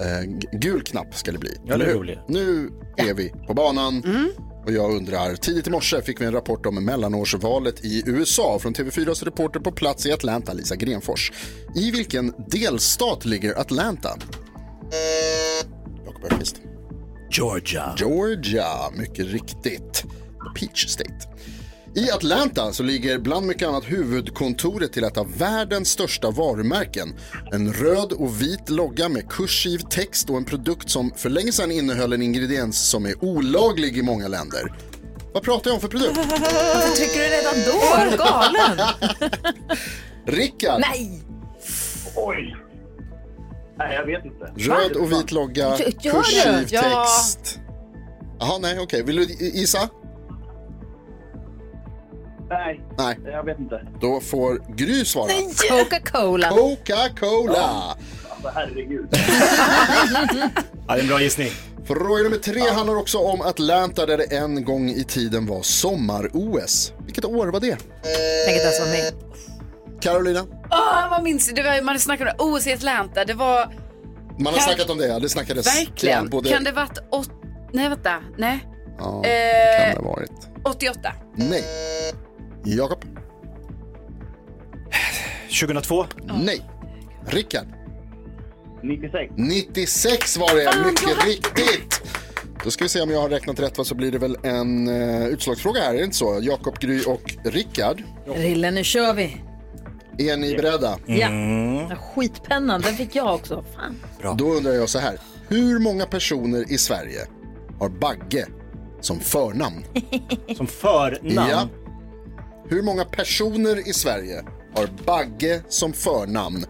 S5: eh, g- gul knapp ska det bli.
S6: Ja, det
S5: Eller hur?
S6: borde det.
S5: Nu är vi på banan.
S6: Mm.
S5: Och jag undrar, tidigt i morse fick vi en rapport om mellanårsvalet i USA från TV4s reporter på plats i Atlanta, Lisa Grenfors. I vilken delstat ligger Atlanta? Jakob Öqvist.
S6: Georgia.
S5: Georgia, mycket riktigt. Peach State. I Atlanta så ligger bland mycket annat huvudkontoret till ett av världens största varumärken. En röd och vit logga med kursiv text och en produkt som för länge sedan innehöll en ingrediens som är olaglig i många länder. Vad pratar jag om för produkt?
S4: Varför trycker du redan då? Är du galen?
S5: Rickard!
S4: Nej!
S24: Oj! Nej, jag vet inte.
S5: Röd och vit logga,
S24: Gör det?
S5: kursiv
S24: Ja.
S5: text. Jaha, nej, okej. Vill du i- gissa?
S24: Nej,
S5: Nej.
S24: jag vet inte.
S5: Då får Gry svara.
S4: Coca-Cola.
S5: Coca-Cola!
S24: Alltså, herregud.
S6: Ja, det är en bra gissning.
S5: Fråga nummer tre handlar också om Atlanta där det en gång i tiden var sommar-OS. Vilket år var det?
S4: Tänk att ens vara med.
S5: Carolina,
S3: Åh, Ah, vad minns jag? Det var, ju- man snackade om OS i Atlanta. Det var
S5: man har
S3: Kan-
S5: snackat om det, ja, det snackades.
S3: verkligen.
S5: igen, både-
S3: Kan det varit åt... Nej, vänta. Nej.
S5: Ja,
S3: Eh,
S5: det har varit.
S3: 88.
S5: Nej. Jakob?
S6: 2002?
S5: Nej. Rickard?
S24: 96.
S5: 96 var det,
S24: Fan,
S5: mycket
S24: jag-
S5: riktigt. Då ska vi se om jag har räknat rätt, va, så blir det väl en eh, utslagsfråga här, är det inte så? Jakob, Gry och Rickard,
S4: Rille, nu kör vi.
S5: är ni beredda?
S4: Ja.
S6: Mm.
S4: Den här Skitpennan, den fick jag också. Fan.
S5: Då undrar jag så här. Hur många personer i Sverige har Bagge som förnamn?
S6: Som förnamn?
S5: Ja. Hur många personer i Sverige har Bagge som förnamn?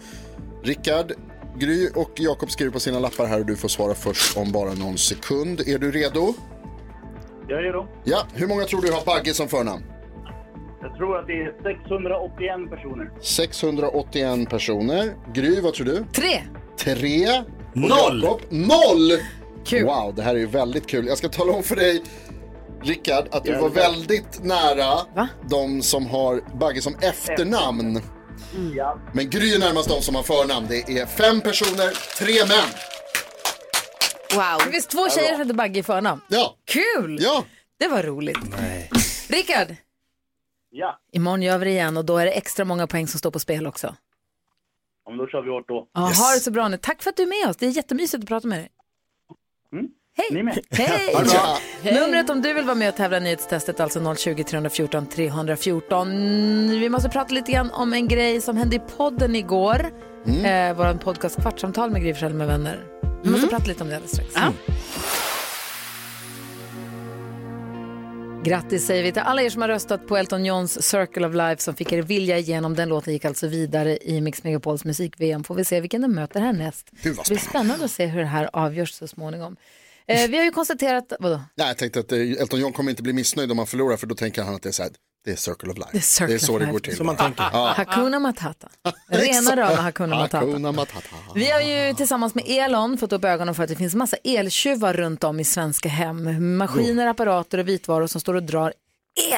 S5: Rickard, Gry och Jakob skriver på sina lappar här och du får svara först om bara någon sekund. Är du redo?
S24: Jag är då.
S5: Ja. Hur många tror du har Bagge som förnamn?
S24: Jag tror att det är 681 personer.
S5: 681 personer. Gry, vad tror du?
S4: Tre.
S5: Tre. Och
S24: Noll.
S5: Jakob, noll! Kul. Wow, det här är ju väldigt kul. Jag ska tala om för dig, Rickard, att du var
S24: Jävlar.
S5: väldigt nära de som har Bagge som efternamn.
S4: Mm.
S24: Ja.
S5: Men Gry är närmast de som har förnamn. Det är fem personer, tre män.
S4: Wow. Det finns två tjejer som heter Bagge i förnamn.
S5: Ja.
S4: Kul!
S5: Ja.
S4: Det var roligt.
S6: Nej.
S4: Rickard!
S24: Ja.
S4: Imorgon gör vi det igen och då är det extra många poäng som står på spel också.
S24: Ja, men då kör vi hårt då.
S4: Ja, Ha det så bra nu. Tack för att du är med oss. Det är jättemysigt att prata med dig. Hej! Hej!
S24: Ha det bra.
S4: Numret om du vill vara med och tävla i nyhetstestet alltså 020 314 314. Vi måste prata lite grann om en grej som hände i podden igår.
S10: Mm.
S5: Mm.
S4: Eh, Vår podcast Kvartsamtal med Gry Forssell med vänner. Vi måste prata lite om det alldeles strax. Mm. Grattis säger vi till alla er som har röstat på Elton Johns Circle of Life som fick er vilja igenom. Den låten gick alltså vidare i Mix Megapols musik-VM. Får vi se vilken den möter härnäst.
S5: Gud, vad
S4: Det blir spännande att se hur det här avgörs så småningom. Eh, vi har ju konstaterat, vadå?
S5: Nej, jag tänkte att eh, Elton John kommer inte bli missnöjd om han förlorar för då tänker han att det är så här, det är circle of life.
S4: Det är circle
S5: så
S4: of
S5: det
S4: life.
S5: går till.
S4: Som man tänker.
S5: Ja.
S4: Hakuna Matata. Rena rama Hakuna Matata.
S5: Hakuna Matata.
S4: Vi har ju tillsammans med Elon fått upp ögonen för att det finns massa eltjuvar runt om i svenska hem. Maskiner, apparater och vitvaror som står och drar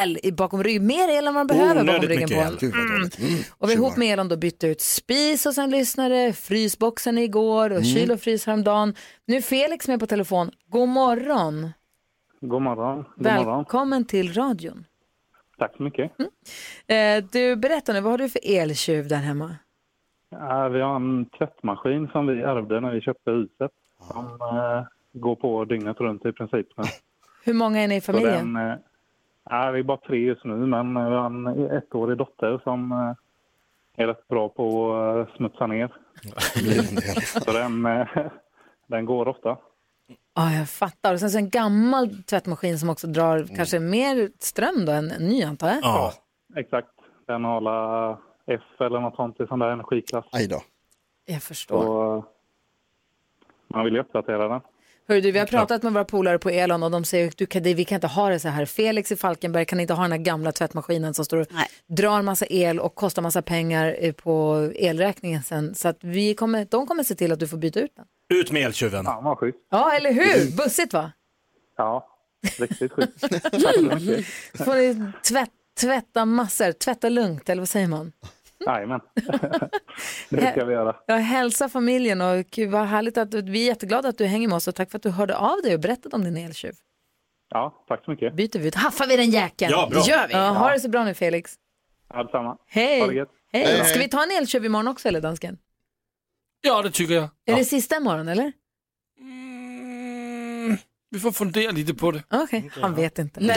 S4: el i- bakom ryggen. Mer el än man behöver bakom ryggen på en.
S5: Gud, vad dåligt. Mm.
S4: Och vi ihop med Elon då bytte ut spis och sen lyssnade, frysboxen igår och
S24: Mm.
S4: kyl och frys häromdagen. Nu är Felix med på telefon. God morgon.
S24: God morgon. God morgon.
S4: Välkommen till radion.
S24: Tack så mycket.
S4: Mm. Eh, du, berätta nu, vad har du för eltjuv där hemma?
S24: Ja, vi har en tvättmaskin som vi ärvde när vi köpte huset. Som eh, går på dygnet runt i princip. nu.
S4: Hur många är ni i
S24: Så
S4: familjen?
S24: Den, eh, ja, vi är bara tre just nu, men vi har en ettårig dotter som eh, är rätt bra på att eh, smutsa ner. Så den, eh, den går ofta.
S4: Ja, jag fattar. Och sen så en gammal tvättmaskin som också drar kanske mer ström då än en ny antar jag.
S24: Exakt. Den har alla F eller något sånt i sån där energiklass.
S5: Aj då.
S4: Jag förstår.
S24: Så, eh, man vill ju uppdatera den.
S4: Hör du, vi har pratat med våra polare på Elon och de säger att du kan, det- vi kan inte ha det så här. Felix i Falkenberg kan inte ha den här gamla tvättmaskinen som står och drar massa el och kostar massa pengar eh, på elräkningen sen. Så att vi kommer, de kommer se till att du får byta ut den.
S6: Ut med eltjuven.
S24: Ja, vad schysst.
S4: Ja, eller hur? Bussigt va?
S24: Ja, riktigt schysst.
S4: Så får ni tvätt, tvätta massor, tvätta lugnt eller vad säger man?
S24: Jajamän. Det ska vi göra.
S4: Ja, hälsa familjen och gud, vad härligt att du, vi är jätteglada att du hänger med oss och tack för att du hörde av dig och berättade om din eltjuv.
S24: Ja, tack så mycket.
S4: Byter vi ut, haffar vi den jäkeln.
S24: Ja, bra.
S4: Det gör vi. Ja, ha
S24: Ja.
S4: det så bra nu Felix.
S24: Ja, detsamma.
S4: Hej.
S24: Ha det gött.
S4: Hej. Ska vi ta en eltjuv imorgon också eller dansken?
S9: Ja, det tycker jag.
S4: Är det sista imorgon eller?
S9: Vi får fundera lite på det.
S4: Okej, han vet inte.